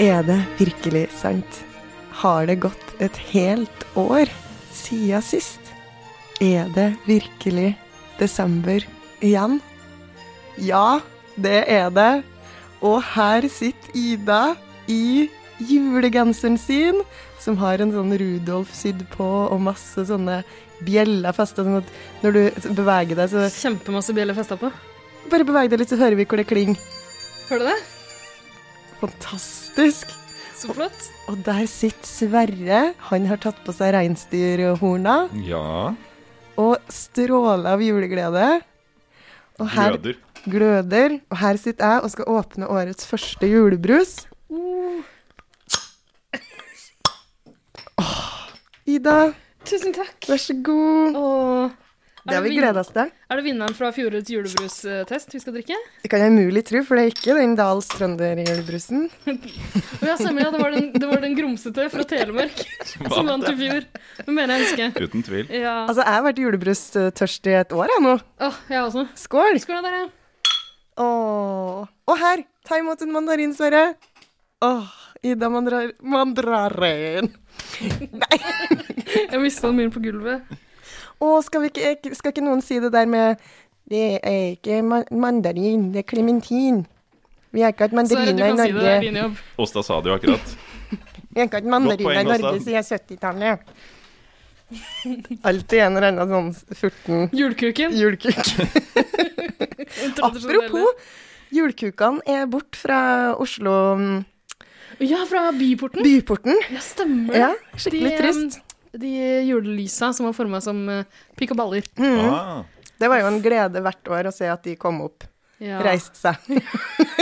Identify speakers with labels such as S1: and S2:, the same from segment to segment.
S1: Er det virkelig sant? Har det gått et helt år siden sist? Er det virkelig desember igjen? Ja, det er det. Og her sitter Ida i julegenseren sin, som har en sånn Rudolf sydd på og masse sånne bjeller festa, sånn at når du beveger deg, så
S2: Kjempemasse bjeller festa på.
S1: bare beveg deg litt, så hører vi hvor det klinger.
S2: Hører du det?
S1: Fantastisk!
S2: Så flott.
S1: Og der sitter Sverre. Han har tatt på seg reinsdyrhorna
S3: Ja.
S1: og stråler av juleglede. Og her gløder.
S3: Gløder.
S1: Og her sitter jeg og skal åpne årets første julebrus.
S2: Oh,
S1: Åh, Ida,
S2: Tusen takk.
S1: vær så god.
S2: Og
S1: Det har vi gleda oss til.
S2: Er det vinneren fra fjorårets julebrustest vi skal drikke?
S1: Det kan jeg umulig tro, for det er ikke den Dahls trønderjulebrusen.
S2: Å ja, stemmer. Ja, det var den, det var den grumsete fra Telemark som vant i fjor. Det mener jeg å huske.
S3: Uten tvil.
S2: Ja.
S1: Altså, jeg har vært julebrustørst i et år, jeg nå.
S2: Å, jeg også.
S1: Skål!
S2: Skål, da, dere.
S1: Åh. Og her, ta imot en mandarin, Sverre. Åh, Ida mandrar... Mandrarin.
S2: Jeg mista den min på gulvet.
S1: Å, skal, vi ikke, ek- skal ikke noen si det der med Det er ikke ma mandarin, det er klementin. Vi har ikke hatt
S2: Så er det, du
S1: mandariner i
S2: kan si det. Det
S1: Norge.
S2: er din jobb.
S3: Åsta sa det jo akkurat.
S1: vi har ikke hatt mandariner i
S3: poeng,
S1: Norge
S3: Åsta.
S1: siden 70-tallet. Alltid en eller annen sånn furten
S2: Julekuken.
S1: julekuk.
S2: tradisjonelle.
S1: Apropos, julekukene er bort fra Oslo mm,
S2: Ja, fra Byporten.
S1: byporten.
S2: Ja, stemmer.
S1: Ja, skikkelig
S2: De, eh,
S1: trist.
S2: De julelysa som var forma som eh, pikk og baller.
S3: Ah,
S1: Det var jo en glede hvert år å se at de kom opp,
S2: Ja.
S1: reiste seg.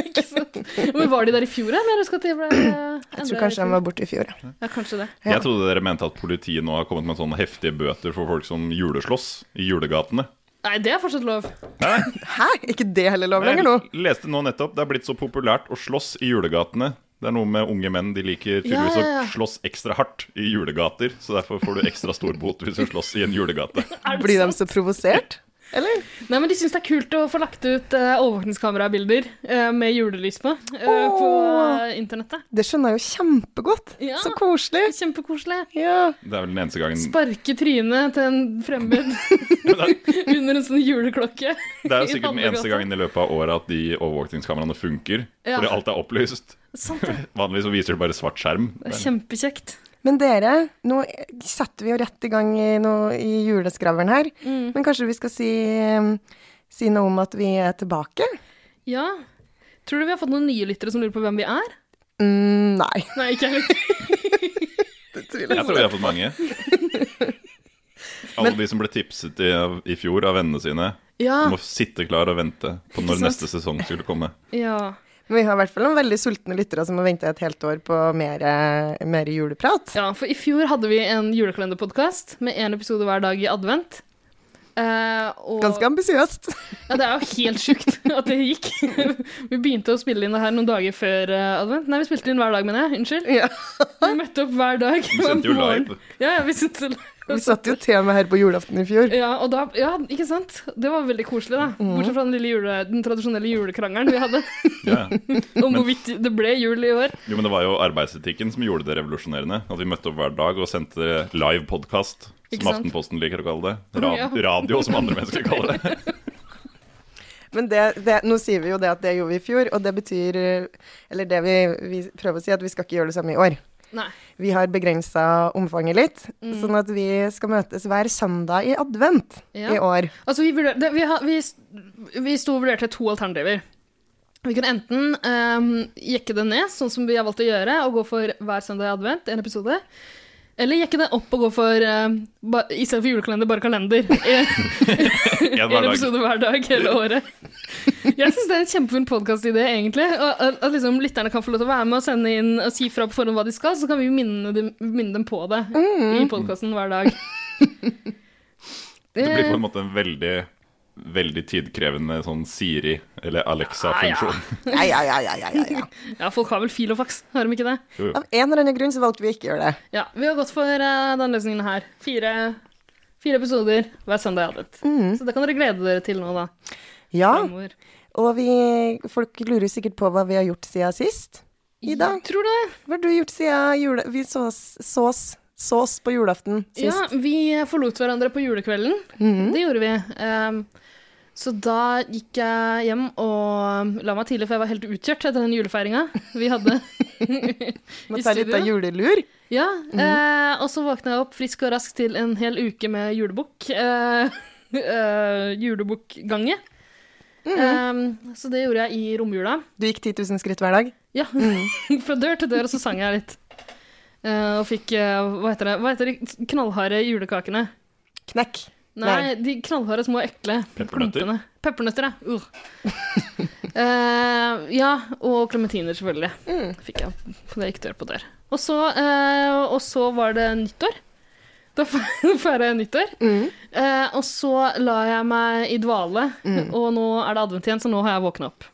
S2: Ikke sant? Men var de der i fjor, eller? Jeg husker at de ble
S1: Jeg tror kanskje de var borte i fjor. ja.
S2: Ja, kanskje det.
S1: Ja.
S3: jeg trodde dere mente at politiet nå har kommet med sånne heftige bøter for folk som juleslåss i julegatene.
S2: Nei, det er fortsatt lov.
S3: Nei,
S1: Hæ, er ikke det heller lov
S3: jeg
S1: lenger nå?
S3: leste nå nettopp. Det er blitt så populært å slåss i julegatene. Det er noe med unge menn. De liker tydeligvis
S2: Ja, ja, ja.
S3: å slåss ekstra hardt i julegater. Så derfor får du ekstra stor bot hvis du slåss i en julegate.
S2: Er det
S1: Blir de
S2: sant?
S1: så provosert? Eller?
S2: Nei, men De syns det er kult å få lagt ut uh, overvåkningskamerabilder eh, med julelys på eh,
S1: Åh.
S2: på eh, internettet.
S1: Det skjønner jeg jo kjempegodt.
S2: Ja.
S1: Så koselig.
S2: Kjempekoselig.
S1: Ja.
S3: Det er vel den eneste gangen
S2: Sparke trynet til en fremmed under en sånn juleklokke.
S3: Det
S2: i
S3: er jo sikkert den eneste
S2: Handlegata.
S3: gangen i løpet av året at de overvåkningskameraene funker.
S2: Ja.
S3: Fordi alt er opplyst.
S2: Sant det.
S3: Vanligvis så viser det bare svart skjerm.
S2: Det er
S3: Det er-
S2: kjempekjekt.
S1: Men dere, nå setter vi jo rett i gang i, noe, i juleskraveren her.
S2: Mm.
S1: Men kanskje vi skal si, um, si noe om at vi er tilbake?
S2: Ja. Tror du vi har fått noen nye lyttere som lurer på hvem vi er?
S1: Mm, nei.
S2: Nei, ikke jeg heller.
S3: Jeg tror vi har fått mange. Alle de som ble tipset i, i fjor av vennene sine,
S2: Ja.
S3: må sitte klar og vente på når
S2: sant?
S3: neste sesong skulle komme.
S2: ja.
S1: Men vi har i hvert fall noen veldig sultne lyttere som har venta et helt år på mer, eh, mer juleprat.
S2: Ja, for i fjor hadde vi en julekalenderpodkast med én episode hver dag i advent. Eh, og,
S1: Ganske ambisiøst.
S2: Ja, det er jo helt sjukt at det gikk. vi begynte å spille inn det her noen dager før eh, advent. Nei, vi spilte inn hver dag, mener jeg. Unnskyld.
S1: Ja.
S2: Vi møtte opp hver dag.
S3: Vi sendte jo
S2: Morgen.
S3: live.
S2: Ja, ja, vi sendte live.
S1: Vi satt jo til og med her på julaften i fjor.
S2: Ja, og da, ja, ikke sant? Det var veldig koselig, da. Bortsett fra den, lille jule, den tradisjonelle julekrangelen vi hadde
S3: Ja.
S2: om hvorvidt det ble jul i år.
S3: Jo, men det var jo arbeidsetikken som gjorde det revolusjonerende. At vi møtte opp hver dag og sendte live podkast,
S2: Ikke
S3: som
S2: sant?
S3: Aftenposten liker å kalle det. Ra
S2: Ja.
S3: Radio, som andre mennesker kaller det.
S1: Men det, det, nå sier vi jo det at det gjorde vi i fjor, og det betyr eh, Eller det vi, vi prøver å si, at vi skal ikke gjøre det samme i år.
S2: Nei.
S1: Vi har begrensa omfanget litt,
S2: Mm.
S1: sånn at vi skal møtes hver søndag i advent
S2: Ja.
S1: i år.
S2: Altså, vi, vurder- det, vi, har- vi, st- vi sto og vurderte to alternativer. Vi kunne enten ehm, jekke det ned, sånn som vi har valgt å gjøre, og gå for hver søndag i advent, en episode. Eller jekke det opp og gå for ehm, ba, i stedet for julekalender, bare kalender. En,
S3: En hver
S2: en
S3: dag.
S2: episode hver dag hele året. Jeg syns det er en kjempefunn podkastidé, egentlig. Og, at at liksom, lytterne kan få lov til å være med og sende inn og si fra på forhånd hva de skal, så kan vi minne dem, minne dem på det i podkasten hver dag.
S3: Det blir på en måte en veldig, veldig tidkrevende sånn Siri- eller Alexa-funksjon.
S1: Ja, ja, ja, ja, ja, ja, ja.
S2: Ja, folk har vel fil og faks, har de ikke det?
S3: Jo, jo.
S1: Av en eller annen grunn så valgte vi ikke å gjøre det.
S2: Ja, vi har gått for eh, den løsningen her. Fire, fire episoder hver søndag i advent.
S1: Mm.
S2: Så det kan dere glede dere til nå, da.
S1: Ja, Ah,
S2: fremover.
S1: og vi, folk lurer sikkert på hva vi har gjort siden sist. Ida,
S2: Tror du det?
S1: hva har du gjort siden jule... vi sås, sås, sås på julaften sist?
S2: Ja, vi forlot hverandre på julekvelden.
S1: Mhm.
S2: Det gjorde vi. Ehm, så da gikk jeg hjem og la meg tidlig, for jeg var helt utkjørt etter den julefeiringa vi hadde.
S1: Må
S2: i
S1: ta litt av
S2: studio.
S1: julelur.
S2: Ja,
S1: Mm.
S2: eh, Og så våkna jeg opp frisk og rask til en hel uke med julebukk. Eh, eh, Julebukkgange.
S1: Mm.
S2: Ehm, så det gjorde jeg i romjula.
S1: Du gikk 10 000 skritt hver dag.
S2: Ja, Fra dør til dør, og så sang jeg litt. Eh, og fikk eh, hva, heter det? hva heter de knallharde julekakene?
S1: Knekk.
S2: Nei, de knallharde, små, ekle
S3: Peppernøtter?
S2: klumpene. Peppernøtter, ja. Uh. Eh, ja, og klementiner, selvfølgelig.
S1: Mm.
S2: Fikk jeg på det gikk dør på dør. Og så, eh, og så var det nyttår. Da feira jeg nyttår.
S1: Mm.
S2: Eh, og så la jeg meg i dvale, og nå er det advent igjen, så nå har jeg våkna opp.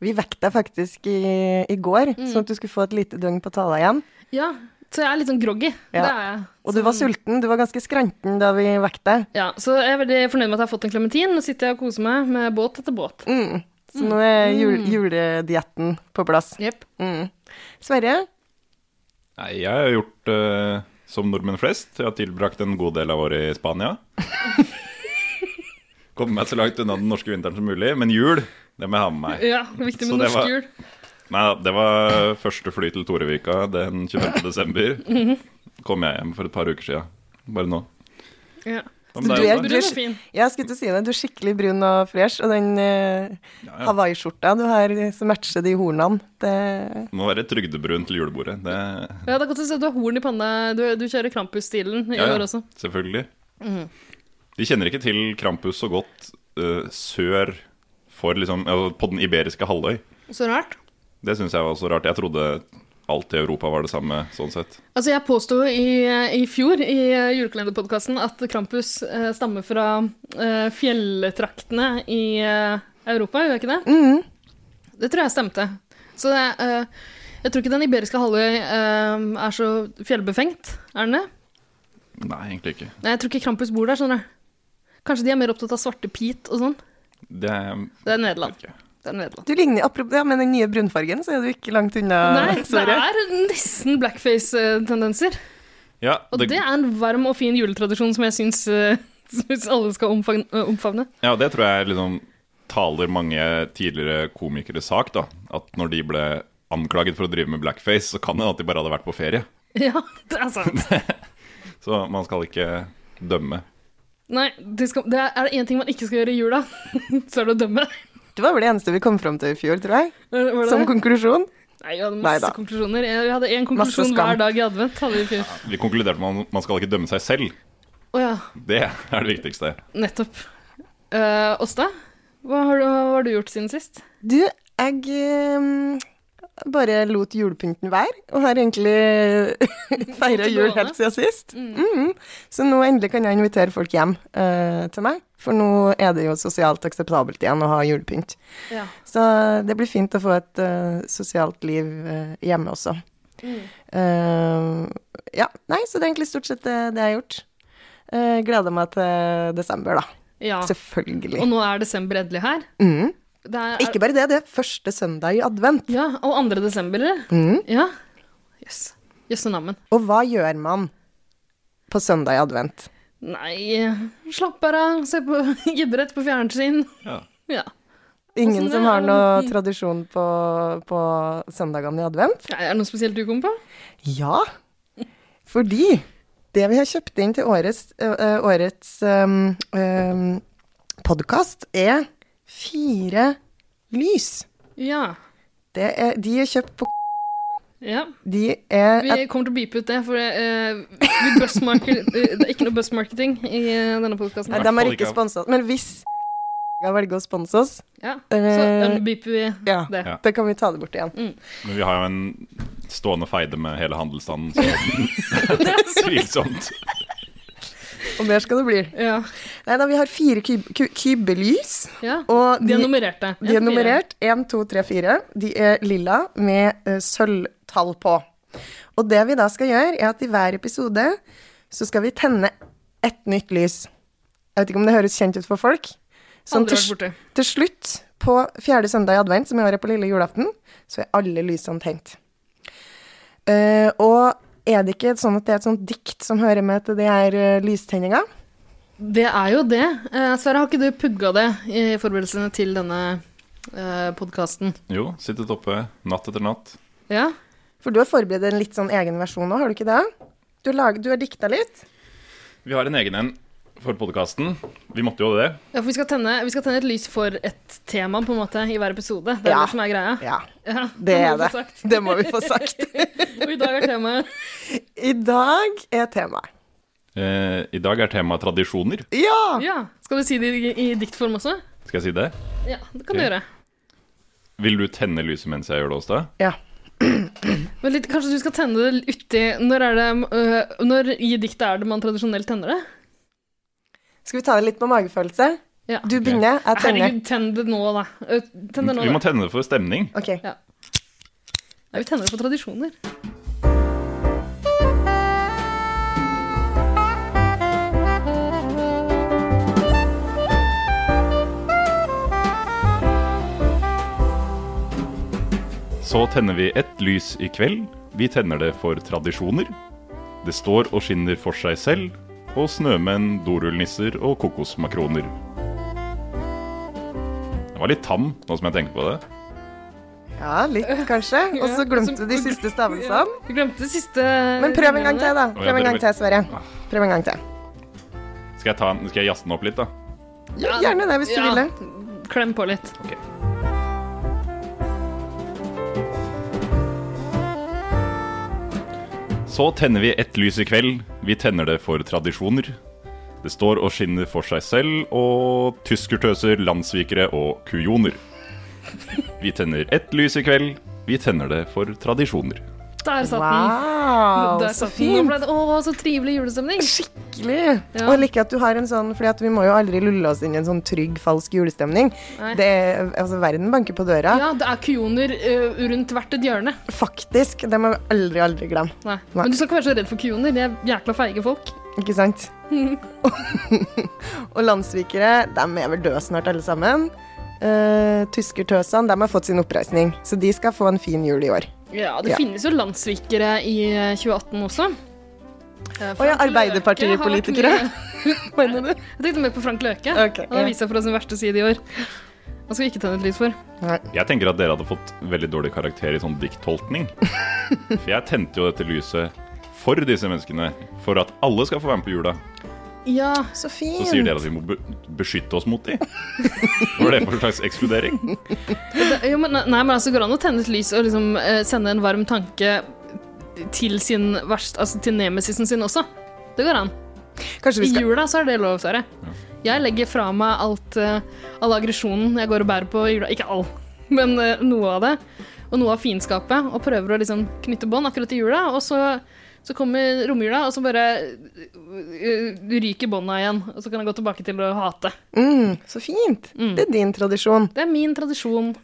S1: Vi vekket deg faktisk i, i går, sånn
S2: Mm.
S1: at du skulle få et lite døgn på tala igjen.
S2: Ja, så jeg er litt sånn groggy.
S1: Ja.
S2: Det er jeg.
S1: Og du var
S2: Mm.
S1: sulten, du var ganske skranten da vi vekket deg.
S2: Ja, så jeg er veldig fornøyd med at jeg har fått en klementin. Nå sitter jeg og koser meg med båt etter båt.
S1: Mm. Så nå er jul,
S2: Mm.
S1: juledietten på plass.
S2: Jep.
S1: Mm. Sverre,
S3: Nei, jeg har gjort eh, som nordmenn flest. Jeg har tilbrakt en god del av året i Spania. Komme meg så langt unna den norske vinteren som mulig. Men jul, det må jeg ha med meg.
S2: Ja, viktig
S3: Så
S2: med
S3: det
S2: norsk
S3: var-
S2: jul.
S3: Nei, det var første fly til Torevika den 25. desember. Kom jeg hjem for et par uker sia. Bare nå.
S2: Ja.
S3: Ja, men
S1: du
S3: det
S1: er,
S3: jo
S1: du
S3: det.
S2: Brun
S1: er,
S2: og fin.
S1: jeg skulle til å si det, du er skikkelig brun og fresh, og den eh,
S3: Ja, ja.
S1: hawaiiskjorta du har som matcher de hornene, det
S3: Må være trygdebrun til julebordet. Det
S2: Ja, det er godt å se at du har horn i panna. Du, du kjører Krampus-stilen i
S3: Ja, ja,
S2: år også.
S3: Selvfølgelig.
S1: Mhm.
S3: De kjenner ikke til Krampus så godt eh, sør for liksom, altså, på den iberiske halvøy.
S2: Så rart.
S3: Det syns jeg var så rart. Jeg trodde alt i Europa var det samme sånn sett.
S2: Altså, jeg påsto i, i fjor i eh, julekalenderpodkasten at Krampus eh, stammer fra eh, fjelltraktene i eh, Europa, gjør jeg ikke det?
S1: Mm.
S2: Det tror jeg stemte. Så det, eh, jeg tror ikke den iberiske halvøy eh, er så fjellbefengt, er den det?
S3: Nei, egentlig ikke.
S2: Nei, jeg tror ikke Krampus bor der, skjønner du. Kanskje de er mer opptatt av svarte pit og sånn.
S3: Det er
S2: Det er Nederland.
S3: ikke.
S2: Det er Nederland.
S1: Du ligner, apropos, ja, Med den nye brunfargen så er du ikke langt unna,
S2: Nei, det
S1: Sverre.
S2: er nesten blackface-tendenser.
S3: Ja,
S2: Og
S3: det,
S2: det er en varm og fin juletradisjon som jeg syns alle skal omfavne. eh, omfavne.
S3: ja, det tror jeg liksom taler mange tidligere komikeres sak, da. At når de ble anklaget for å drive med blackface, så kan det at de bare hadde vært på ferie.
S2: Ja, det er sant.
S3: Så man skal ikke dømme.
S2: Nei, det, skal, det er- er det én ting man ikke skal gjøre i jula, så er det å dømme.
S1: Det var vel det eneste vi kom fram til i fjor, tror jeg.
S2: Var det
S1: Som
S2: det?
S1: konklusjon.
S2: Nei, vi hadde masse
S1: Neida.
S2: konklusjoner. Jeg- Vi hadde én
S1: Masse
S2: konklusjon
S1: skam.
S2: hver dag i advent. hadde vi i fjor.
S3: Vi konkluderte med at man skal ikke dømme seg selv.
S2: Å ja,
S3: Det er det viktigste.
S2: nettopp. Eh, Åsta, hva, har du- hva har du gjort siden sist?
S1: Du, jeg eh, bare lot julepynten være, og har egentlig feira
S2: Holdt det
S1: jul
S2: gående.
S1: helt siden sist.
S2: Mm.
S1: Mhm. Så nå endelig kan jeg invitere folk hjem eh, til meg, for nå er det jo sosialt akseptabelt igjen å ha julepynt.
S2: Ja.
S1: Så det blir fint å få et eh, sosialt liv eh, hjemme også.
S2: Mm.
S1: Eh, ja, nei, så det er egentlig stort sett det, det jeg har gjort. Eh, gleder meg til desember, da.
S2: ja. Og
S1: Selvfølgelig.
S2: nå er desember endelig her.
S1: Mhm.
S2: Det er,
S1: Ikke bare det, det er første søndag i advent.
S2: Ja, og 2. desember, eller?
S1: Mhm.
S2: Ja. Jøss. Jøsse nammen.
S1: Og hva gjør man på søndag i advent?
S2: Nei, slapp bare av, se på idrett på fjernsyn.
S3: Ja.
S2: Ja.
S1: Ingen
S2: Åssen
S1: som
S2: det
S1: har
S2: Altså, er-
S1: noe tradisjon på, på søndagene i advent?
S2: Er det noe spesielt du kom på?
S1: Ja, fordi det vi har kjøpt inn til årets, ø, ø, årets podkast, er fire lys.
S2: Ja.
S1: Det er, de er kjøpt på
S2: ja.
S1: De er
S2: Vi kommer til å beepe ut det, for eh, vi buzzmarker, eh, det er ikke noe buzzmarketing i eh, denne
S1: Nei,
S2: podkasten.
S1: de er
S3: Hvertfall
S1: ikke
S3: ikke av-
S1: sponsa. Men hvis velger å sponse oss,
S2: Ja. Så
S1: eh,
S2: unbeeper vi
S1: ja,
S2: det.
S3: Ja.
S1: da kan vi ta det bort igjen.
S3: Men vi har jo en stående feide med hele handelsstanden, så det er tvilsomt.
S1: Og mer skal det bli.
S2: Ja.
S1: Nei da, vi har fire kyb- ku- kybelys.
S2: ja.
S1: Og
S2: De
S1: de,
S2: er nummererte.
S1: de er
S2: En til fire.
S1: nummerert 1, 2, 3, 4. De er lilla med eh, sølvtall på. Og det vi da skal gjøre, er at i hver episode så skal vi tenne ett nytt lys. Jeg vet ikke om det høres kjent ut for folk. Sånn
S2: Aldri
S1: til,
S2: vært borte.
S1: s- til slutt, på fjerde søndag i advent, som i år er på lille julaften, så er alle lysene tent. Eh, og er det ikke sånn at det er et sånt dikt som hører med til det her eh, lystenninga?
S2: Det er jo det. Eh, Sverre, har ikke du pugga det i forberedelsene til denne eh, podkasten?
S3: Jo, sittet oppe natt etter natt.
S2: Ja?
S1: For du har forberedt en litt sånn egen versjon nå, har du ikke det? Du, lag, du har dikta litt?
S3: Vi har en egen en for podkasten. Vi måtte jo det.
S2: ja, for vi skal, tenne, vi skal tenne et lys for et tema på en måte i hver episode. Det er
S1: Ja.
S2: det som er greia.
S1: Ja,
S2: Ja,
S1: det er
S2: må vi
S1: det.
S2: få sagt.
S1: Det må vi få sagt.
S2: Og i dag er temaet
S1: I dag er temaet
S3: Eh, I dag er temaet tradisjoner.
S1: Ja!
S2: Ja, skal du si det i, i diktform også?
S3: Skal jeg si det?
S2: Ja, det kan du
S3: Ok.
S2: gjøre.
S3: Vil du tenne lyset mens jeg gjør det, Åsta?
S1: Ja.
S2: Men litt, kanskje du skal tenne det uti Når, er det, øh, når i diktet er det man tradisjonelt tenner det?
S1: Skal vi ta det litt på magefølelse?
S2: Ja.
S1: Du begynner, jeg tenner.
S2: Herregud, tenn det nå, da. Øh, Tenn det nå,
S3: Vi må
S2: da.
S3: tenne det for stemning.
S1: Ok.
S2: Ja, vi tenner det for tradisjoner.
S3: Så tenner vi ett lys i kveld. Vi tenner det for tradisjoner. Det står og skinner for seg selv. Og snømenn, dorullnisser og kokosmakroner. Den var litt tam, nå som jeg tenker på det.
S1: Ja, litt kanskje. Og så glemte du de siste stavelsene.
S2: Du glemte det siste
S1: Men prøv en gang til, da.
S3: Ja,
S1: Prøv en gang til, Sverre. Prøv en gang til.
S3: Skal jeg, ta en, skal jeg jazze den opp litt, da?
S1: Ja, gjerne det, hvis du
S2: Ja,
S1: vil det.
S2: Klem på litt.
S3: Så tenner vi ett lys i kveld. Vi tenner det for tradisjoner. Det står og skinner for seg selv og tyskertøser, landssvikere og kujoner. Vi tenner ett lys i kveld. Vi tenner det for tradisjoner.
S2: Der satt den.
S1: Wow,
S2: Der
S1: så
S2: satt den. Nå
S1: fint.
S2: ble det- Å, så trivelig julestemning.
S1: Skikkelig.
S2: Ja.
S1: Og jeg liker at du har en sånn, fordi at vi må jo aldri lulle oss inn i en sånn trygg, falsk julestemning.
S2: Nei.
S1: Det er, altså, verden banker på døra.
S2: Ja, det er kujoner øh, rundt hvert et hjørne.
S1: Faktisk, det må vi aldri, aldri glemme.
S2: Nei. Men du skal ikke være så redd for kujoner. De er jækla feige folk.
S1: Ikke sant? og landssvikere, de er vel døde snart alle sammen. Uh, Tyskertøsene, de har fått sin oppreisning, så de skal få en fin jul i år.
S2: Ja, det
S1: Ja.
S2: finnes jo landssvikere i eh, 2018 også.
S1: Å
S2: Eh,
S1: ja,
S2: Frank Løke
S1: Arbeiderpartipolitikere.
S2: har vært
S1: Mener du?
S2: med- Jeg tenkte mer på Frank Løke.
S1: Ok,
S2: Han har
S1: ja.
S2: vist seg fra sin verste side i år. Han skal vi ikke tenne et lys for.
S1: Nei.
S3: Jeg tenker at dere hadde fått veldig dårlig karakter i sånn dikttolkning. For jeg tente jo dette lyset for disse menneskene. For at alle skal få være med på jula.
S2: Ja,
S1: Så fint.
S3: Så sier dere at vi må be beskytte oss mot de. Hva er det for slags ekskludering?
S2: det, jo, men, nei, men altså, går det an å tenne et lys og liksom eh, sende en varm tanke til sin verst, altså til nemesisen sin også? Det går an.
S1: Kanskje
S2: I
S1: vi skal
S2: jula så er det lov, Sverre. Jeg legger fra meg alt, eh, all aggresjonen jeg går og bærer på i jula. Ikke all, men eh, noe av det. Og noe av fiendskapet. Og prøver å liksom knytte bånd akkurat i jula. Og så, så kommer romjula, og så bare eh, ryker bånda igjen. Og så kan jeg gå tilbake til å hate.
S1: mm, Så fint. Det er din tradisjon.
S2: Det er min tradisjon.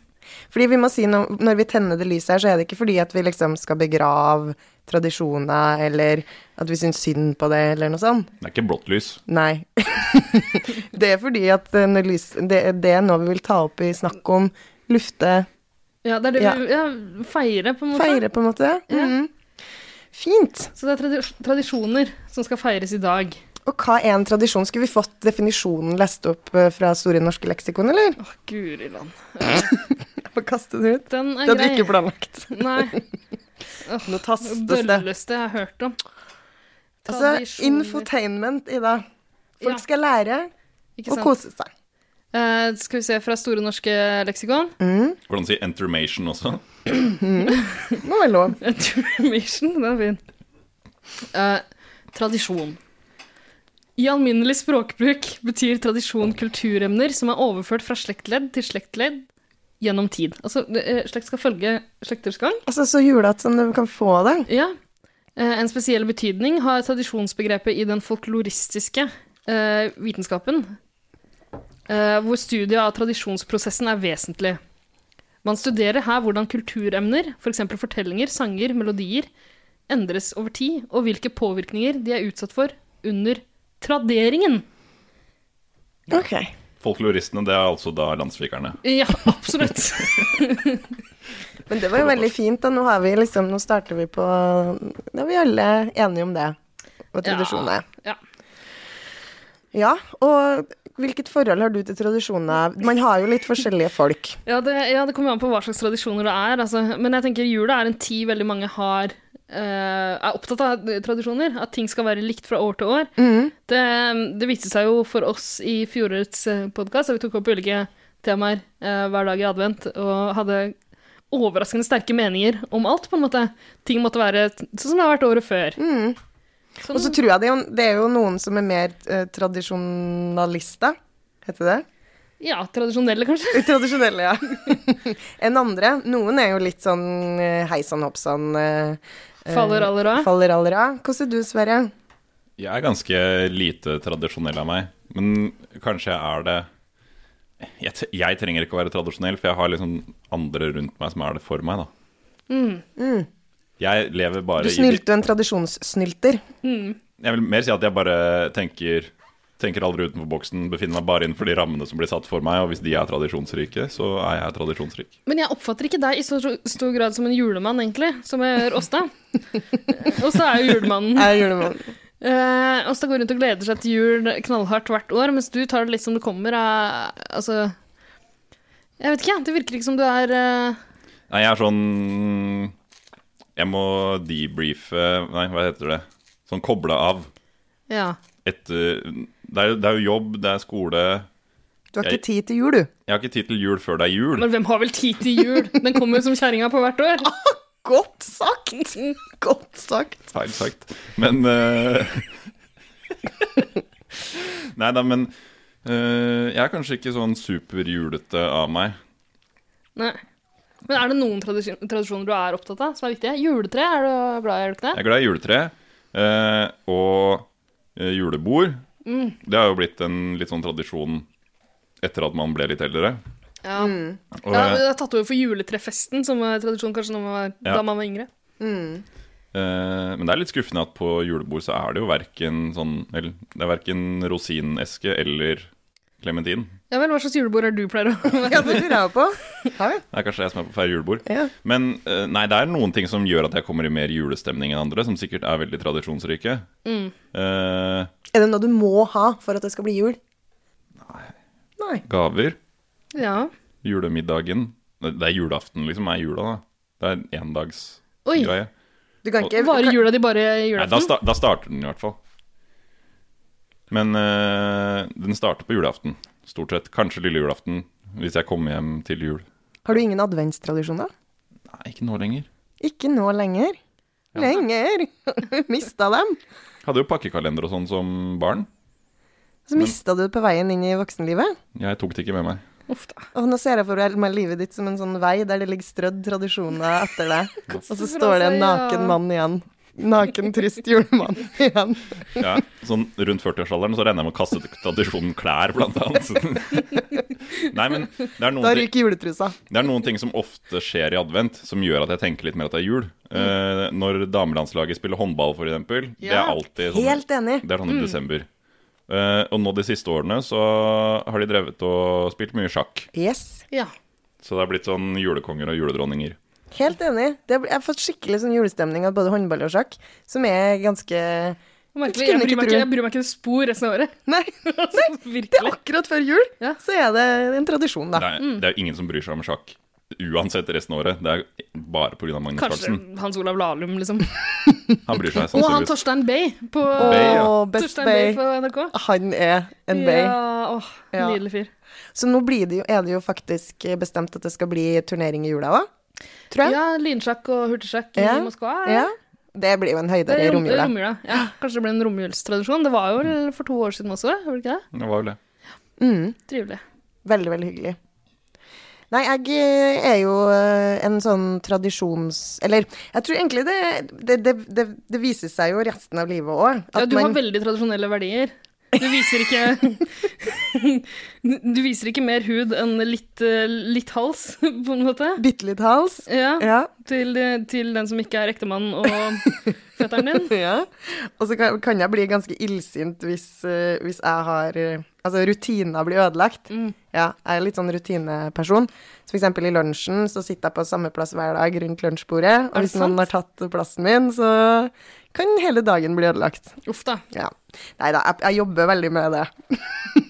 S1: Fordi vi må si no Når vi tenner det lyset her, så er det ikke fordi at vi liksom skal begrave tradisjoner, eller at vi syns synd på det, eller noe sånt.
S3: Det er ikke blått lys.
S1: Nei. det er fordi at eh, når lys, det, det er noe vi vil ta opp i snakk om, lufte,
S2: Ja, det er det
S1: Ja.
S2: vi ja, feirer, på en måte.
S1: feire, på en måte. Mhm. Fint.
S2: Så det er tradi tradisjoner som skal feires i dag.
S1: Og hva er en tradisjon? Skulle vi fått definisjonen lest opp eh, fra Store norske leksikon, eller?
S2: Å, guri land.
S1: Få kaste den ut.
S2: Den
S1: Det
S2: er
S1: hadde vi
S2: grei.
S1: ikke planlagt.
S2: Nei.
S1: Nå tastes det.
S2: Dølleste jeg har hørt om.
S1: Altså, infotainment, Ida. Folk
S2: Ja.
S1: skal lære
S2: Ikke
S1: og
S2: sant?
S1: kose seg.
S2: Eh, skal vi se fra Store norske leksikon.
S1: Mm.
S3: Går det an å si entermation også?
S1: Må være lov.
S2: Information, den er fin. Eh, tradisjon. I alminnelig språkbruk betyr tradisjon kulturemner som er overført fra slektledd til slektledd gjennom tid. Altså, det, eh, slekt skal følge slekters gang.
S1: Altså, så julete som du kan få det.
S2: Ja. Eh, En spesiell betydning har tradisjonsbegrepet i den folkloristiske eh, vitenskapen, eh, hvor studiet av tradisjonsprosessen er vesentlig. Man studerer her hvordan kulturemner, f.eks. eksempel fortellinger, sanger, melodier, endres over tid, og hvilke påvirkninger de er utsatt for under traderingen.
S1: Ok.
S3: Folkloristene, det er altså da landssvikerne.
S2: Ja, absolutt.
S1: Men det var jo veldig fint, og nå har vi liksom Nå starter vi på Da er vi alle enige om det, og tradisjonene.
S2: Ja.
S1: Ja, og hvilket forhold har du til tradisjoner? Man har jo litt forskjellige folk.
S2: Ja, det, ja, det kommer jo an på hva slags tradisjoner det er. Altså. Men jeg tenker jula er en tid veldig mange har eh, er opptatt av tradisjoner. At ting skal være likt fra år til år. Det, det viste seg jo for oss i fjorårets podkast, da vi tok opp ulike temaer eh, hver dag i advent, og hadde overraskende sterke meninger om alt, på en måte. Ting måtte være t- sånn som det har vært året før. Sånn,
S1: Og så tror jeg det er jo, det er jo noen som er mer eh, tradisjonalister, heter det?
S2: ja, tradisjonelle, kanskje.
S1: Tradisjonelle, ja. Enn andre. Noen er jo litt sånn eh, hei sann, hopp sann. eh, eh,
S2: Faller aller av.
S1: Faller aller av. Hvordan er du, Sverre?
S3: Jeg er ganske lite tradisjonell av meg, men kanskje jeg er det jeg, t- jeg trenger ikke å være tradisjonell, for jeg har liksom andre rundt meg som er det for meg, da. Jeg lever bare
S1: Mm. Du
S3: i
S1: snylte jo en tradisjonssnylter.
S3: Jeg vil mer si at jeg bare tenker Tenker aldri utenfor boksen, befinner meg bare innenfor de rammene som blir satt for meg, og hvis de er tradisjonsrike, så er jeg tradisjonsrik.
S2: Men jeg oppfatter ikke deg i så stor grad som en julemann, egentlig, som jeg gjør Åsta. Åsta er jo julemannen.
S1: Jeg gjorde det.
S2: Eh, Åsta går rundt og gleder seg til jul knallhardt hvert år, mens du tar det litt som det kommer. eh, altså Jeg vet ikke, det virker ikke som du er eh,
S3: Nei, jeg er sånn Jeg må debriefe Nei, hva heter det? Sånn koble av
S2: Ja.
S3: etter eh, det er, det er jo jobb, det er skole Jeg
S1: Du har
S3: Jeg-
S1: ikke tid til jul, du.
S3: har ikke tid til jul før det er jul.
S2: Men hvem har vel tid til jul? Den kommer jo som kjerringa på hvert år.
S1: Godt sagt! Godt sagt.
S3: Feil sagt. Men eh, Nei da, men eh, jeg er kanskje ikke sånn superjulete av meg.
S2: Nei. Men er det noen tradisjon, tradisjoner du er opptatt av, som er viktige? Juletre, er du glad i? Er du ikke
S3: Jeg
S2: det?
S3: er glad i juletre eh, og eh, julebord.
S2: Mm.
S3: Det har jo blitt en litt sånn tradisjon etter at man ble litt eldre.
S2: Ja.
S3: Mm. Og,
S2: Ja, jeg har tatt over for juletrefesten, som var tradisjon kanskje når man var,
S3: Ja.
S2: da man var yngre.
S3: Eh, men det er litt skuffende at på julebord så er det jo verken sånn Eller det er verken rosineske eller klementin.
S2: Ja vel, hva slags julebord er det du pleier å
S1: Ja, det lurer jeg jo på. Har vi?
S3: Det er kanskje jeg som er på feil julebord.
S1: Ja.
S3: Men eh, nei, det er noen ting som gjør at jeg kommer i mer julestemning enn andre, som sikkert er veldig tradisjonsrike. Eh,
S1: Er det noe du må ha for at det skal bli jul? Nei.
S3: gaver.
S2: Ja.
S3: Julemiddagen. Det det er julaften, liksom. er jula, da. Det er en
S2: Oi.
S3: endagsgreie.
S1: Du kan ikke du
S2: Varer
S1: kan-
S2: jula di bare
S3: Nei, da,
S2: julaften?
S3: sta da starter den i hvert fall. Men eh, den starter på julaften, stort sett. Kanskje lille julaften, hvis jeg kommer hjem til jul.
S1: Har du ingen adventstradisjoner?
S3: Nei, ikke nå lenger.
S1: Ikke nå lenger. Lenger! mista dem.
S3: Hadde jo pakkekalender og sånn som barn.
S1: Så mista du det på veien inn i voksenlivet.
S3: Jeg tok det ikke med meg.
S2: Uff da.
S1: Og nå ser jeg for meg livet ditt som en sånn vei der det ligger strødd tradisjoner etter deg. Og så står det en naken mann igjen. Naken, trist julemann igjen.
S3: Ja, sånn rundt 40-årsalderen så regner jeg med å kaste tradisjonen klær, blant annet. Nei, men det er noen
S1: Da
S3: ting-
S1: ryker juletrusa.
S3: Det er noen ting som ofte skjer i advent, som gjør at jeg tenker litt mer at det er jul. Eh, når damelandslaget spiller håndball, for eksempel. det er alltid sånn,
S1: Helt enig.
S3: Det er sånn i desember. Eh, og nå de siste årene så har de drevet og spilt mye sjakk.
S1: Yes.
S2: Ja.
S3: Så det har blitt sånn julekonger og juledronninger.
S1: Helt enig. Det, jeg har fått skikkelig sånn julestemning av både håndball og sjakk, som er ganske
S2: Merkelig.
S1: Skulle man ikke
S2: Jeg bryr, meg
S1: tro.
S2: ikke, jeg bryr meg ikke et spor resten av året.
S1: Nei,
S2: Altså,
S1: det er
S2: virkelig.
S1: akkurat før jul,
S2: Ja.
S1: så er det en tradisjon, da.
S3: Det er, det er jo ingen som bryr seg om sjakk uansett resten av året. Det er bare pga. Magnus
S2: Kanskje
S3: Carlsen.
S2: Hans Olav Lahlum, liksom.
S3: Han bryr seg
S2: Og han
S3: sannsynligvis.
S2: Torstein Bay på
S3: Bay, ja.
S1: Åh, Best
S2: Torstein
S1: Bay.
S2: Bay på NRK.
S1: Han er en bay.
S2: Ja, åh,
S1: Ja.
S2: Nydelig fyr.
S1: Så nå blir det jo, er det jo faktisk bestemt at det skal bli turnering i jula òg, tror jeg.
S2: Ja, lynsjakk og hurtigsjakk i Moskva.
S1: Ja. Det blir jo en
S2: Det
S1: høydere
S2: er
S1: i
S2: rom-
S1: romjula.
S2: romjula. Ja, kanskje det blir en romjulstradisjon. Det var jo vel for to år siden også, var det ikke det?
S3: Det var vel det.
S2: Trivelig.
S1: Mm. Veldig, veldig hyggelig. Nei, jeg eh, er jo eh, en sånn tradisjons... Eller jeg tror egentlig det Det, det, det, det viser seg jo resten av livet òg.
S2: Ja, du har veldig tradisjonelle verdier. Du viser ikke Du viser ikke mer hud enn litt, eh, litt hals, på en måte.
S1: Bitte litt hals.
S2: Ja,
S1: Ja.
S2: Til, til den som ikke er ektemannen og fetteren din.
S1: Ja. Og så kan, kan jeg bli ganske illsint hvis, eh, hvis jeg har eh, Altså rutina blir ødelagt.
S2: Mm.
S1: Ja, jeg er litt sånn rutineperson. Så for eksempel i lunsjen så sitter jeg på samme plass hver dag rundt lunsjbordet, og
S2: Er det
S1: hvis noen har tatt plassen min, så kan hele dagen bli ødelagt.
S2: Uff da.
S1: Ja. Nei da, jeg, jeg jobber veldig med det.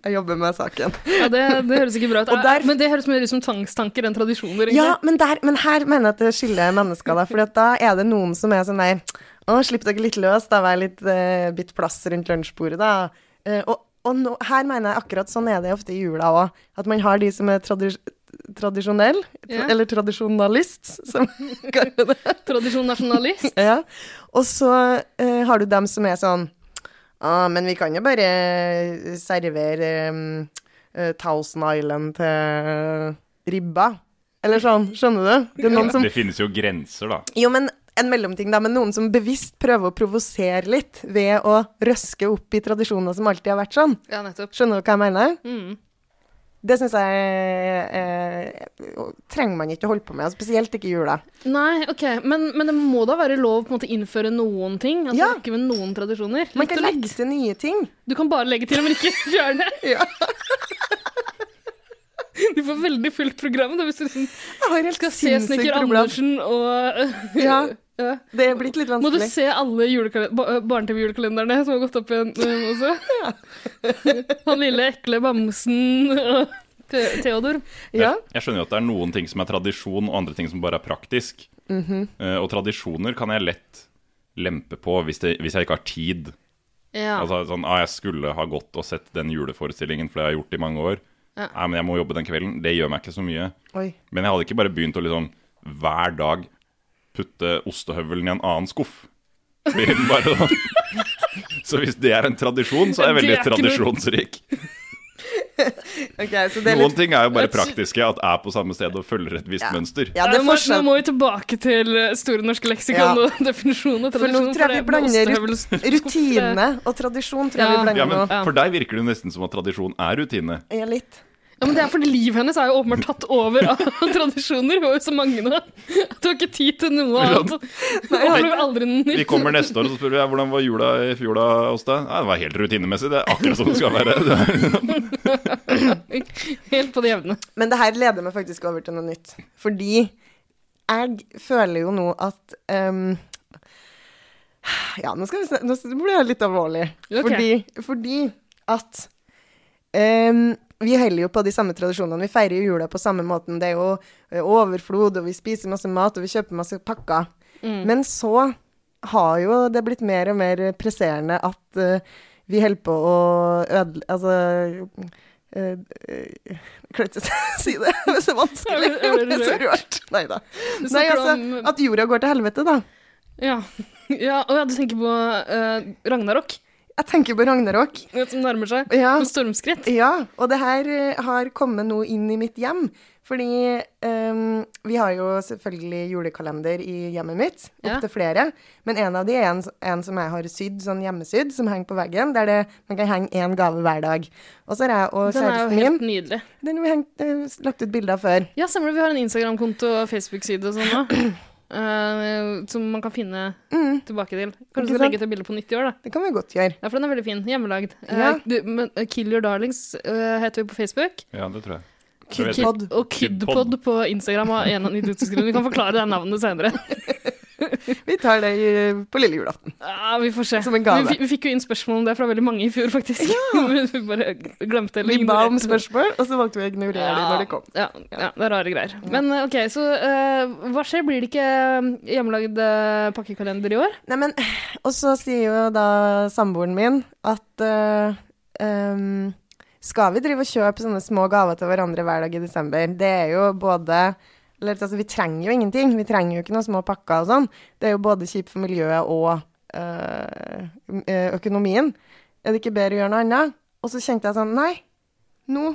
S1: jeg jobber med saken.
S2: Ja, det, det høres ikke bra ut.
S1: Og der-
S2: Men det høres mer ut som tvangstanker enn tradisjoner. egentlig.
S1: Ja, men, der, men her mener jeg at det skiller mennesker, da. For da er det noen som er sånn der Å, slipp dere litt løs, da. Vær litt eh, bitt plass rundt lunsjbordet, da. Eh, og og nå- her mener jeg akkurat sånn er det ofte i jula òg. At man har de som er tradi tradisjonell, tra
S2: Ja.
S1: eller tradisjonalist, som kaller det.
S2: Tradisjon nasjonalist.
S1: Ja. Og så eh, har du dem som er sånn ah, men vi kan jo bare servere um, eh, Thousand Island til eh, ribba. Eller sånn, skjønner du? Det er noen som
S3: Det finnes jo grenser, da.
S1: Jo, men en mellomting, da. Men noen som bevisst prøver å provosere litt ved å røske opp i tradisjoner som alltid har vært sånn.
S2: Ja, nettopp.
S1: Skjønner du hva jeg mener?
S2: Mm.
S1: Det syns jeg eh, trenger man ikke å holde på med, og spesielt ikke i jula.
S2: Nei, ok. Men, men det må da være lov på en måte å innføre noen ting? Altså
S1: Ja.
S2: Ikke ved noen tradisjoner?
S1: Man
S2: Litt
S1: kan
S2: og litt.
S1: legge til nye ting.
S2: Du kan bare legge til, men ikke fjerne.
S1: Ja.
S2: Du får veldig fullt program da, hvis du liksom
S1: Jeg har helt
S2: skal se
S1: sinnssykt
S2: Snekker
S1: problem.
S2: Andersen og
S1: Ja.
S2: Ja.
S1: Det er blitt litt
S2: Må du
S1: vanskelig.
S2: se alle julekale- ba- øh, barne-TV-julekalenderne som har gått opp igjen øh, også? Han lille ekle bamsen og Te- Theodor.
S1: Ja.
S3: Jeg, jeg skjønner jo at det er noen ting som er tradisjon, og andre ting som bare er praktisk. Eh, og tradisjoner kan jeg lett lempe på hvis, det, hvis jeg ikke har tid.
S2: Ja.
S3: Altså sånn, ah, Jeg skulle ha gått og sett den juleforestillingen, for det har jeg gjort i mange år.
S2: Ja.
S3: Nei, men jeg må jobbe den kvelden. Det gjør meg ikke så mye.
S1: Oi.
S3: Men jeg hadde ikke bare begynt å liksom hver dag putte ostehøvelen i en annen skuff. Fordi den Bare, så hvis det er en tradisjon, så er jeg
S2: Det
S3: veldig
S2: er ikke noe-
S3: tradisjonsrik.
S1: Ok, så det er
S3: Noen
S1: litt
S3: ting er jo bare
S2: Jeg sy-
S3: praktiske, at er på samme sted og følger et visst mønster.
S1: Ja, det er
S2: Nei, nå må-
S1: forskjell.
S2: Nå må vi tilbake til eh, Store norske leksikon
S1: Ja.
S2: og definisjon og
S1: For nå
S2: tradisjon.
S1: tror jeg vi
S2: det er med
S1: blander
S2: ostehøvels-
S1: rutine og tradisjon, tror jeg
S2: Ja.
S1: vi blander
S3: Ja,
S1: nå.
S3: men For deg virker det jo nesten som at tradisjon er rutine.
S1: Ja, litt.
S2: Ja, men det er fordi livet hennes er jo åpenbart tatt over av tradisjoner. Hun har jo så mange nå. Du har ikke tid til noe annet. Nei,
S3: har
S2: har aldri nytt.
S3: Vi kommer neste år og så spør vi ja, hvordan var jula i fjor da hos deg. Nei, det var helt rutinemessig. Det er akkurat som det skal være. Det er-
S2: Helt på det jevne.
S1: Men det her leder meg faktisk over til noe nytt. Fordi jeg føler jo nå at ehm, Ja, nå, skal vi snak- nå s- blir jeg litt alvorlig.
S2: Ok.
S1: Fordi, fordi at ehm, vi heller jo på de samme tradisjonene. Vi feirer jo jula på samme måten. Det er jo eh, overflod, og vi spiser masse mat, og vi kjøper masse pakker. Men så har jo det blitt mer og mer presserende at eh, vi holder på å ødele... Altså eh, eh, Jeg klarer ikke å si det, det er så vanskelig.
S2: Er det- er det
S1: Det er så rørt. Nei da.
S2: Du
S1: Nei,
S2: snakker
S1: altså,
S2: om-
S1: at jorda går til helvete, da.
S2: Ja. Ja, og ja, du tenker på eh, Ragnarok,
S1: Jeg tenker på Ragnarok.
S2: som nærmer seg
S1: Ja.
S2: med stormskritt.
S1: Ja, og det her eh, har kommet nå inn i mitt hjem. Fordi ehm, vi har jo selvfølgelig julekalender i hjemmet mitt,
S2: Ja.
S1: opptil flere. Men en av de er en, en som jeg har sydd, sånn hjemmesydd, som henger på veggen. Der det, man kan henge én gave hver dag. Og så har jeg og
S2: Den er jo
S1: kjæresten
S2: helt
S1: min
S2: nydelig.
S1: Den har vi hengt, eh, lagt ut bilder av før.
S2: Ja, stemmer det. Vi har en Instagram-konto og Facebook-side og sånn nå. eh, som man kan finne tilbake til.
S1: Mm. Ikke
S2: Kanskje du skal
S1: sant?
S2: legge til bildet på nytt i år, da.
S1: Det kan vi godt gjøre.
S2: Ja, for den er veldig fin. Hjemmelagd. Eh,
S1: Ja.
S2: du, men, eh, Kill Your Darlings eh, heter vi på Facebook.
S3: Ja, det tror jeg. Jeg vet
S1: Kidpod.
S2: Og Kidpod på Instagram av en av de idiotiske Vi kan forklare det navnet senere.
S1: Vi tar det i- på lille julaften.
S2: Ja, vi får se.
S1: Som en gave.
S2: Vi, fi- vi fikk jo inn spørsmål om det fra veldig mange i fjor, faktisk. Men vi bare glemte eller
S1: Vi ba om
S2: ignorerte det.
S1: spørsmål, og så valgte vi å ignorere det når det kom.
S2: Ja, ja, det er rare greier. Men eh, OK, så eh, hva skjer? Blir det ikke hjemmelagd eh, pakkekalender i år?
S1: Nei, men, og så sier jo da samboeren min at øh, øhm, skal vi drive og kjøpe sånne små gaver til hverandre hver dag i desember? Det er jo både eller, altså, Vi trenger jo ingenting. Vi trenger jo ikke noen små pakker og sånn. Det er jo både kjipt for miljøet og øh, ø- økonomien. Er det ikke bedre å gjøre noe annet? Og så kjente jeg sånn Nei, nå.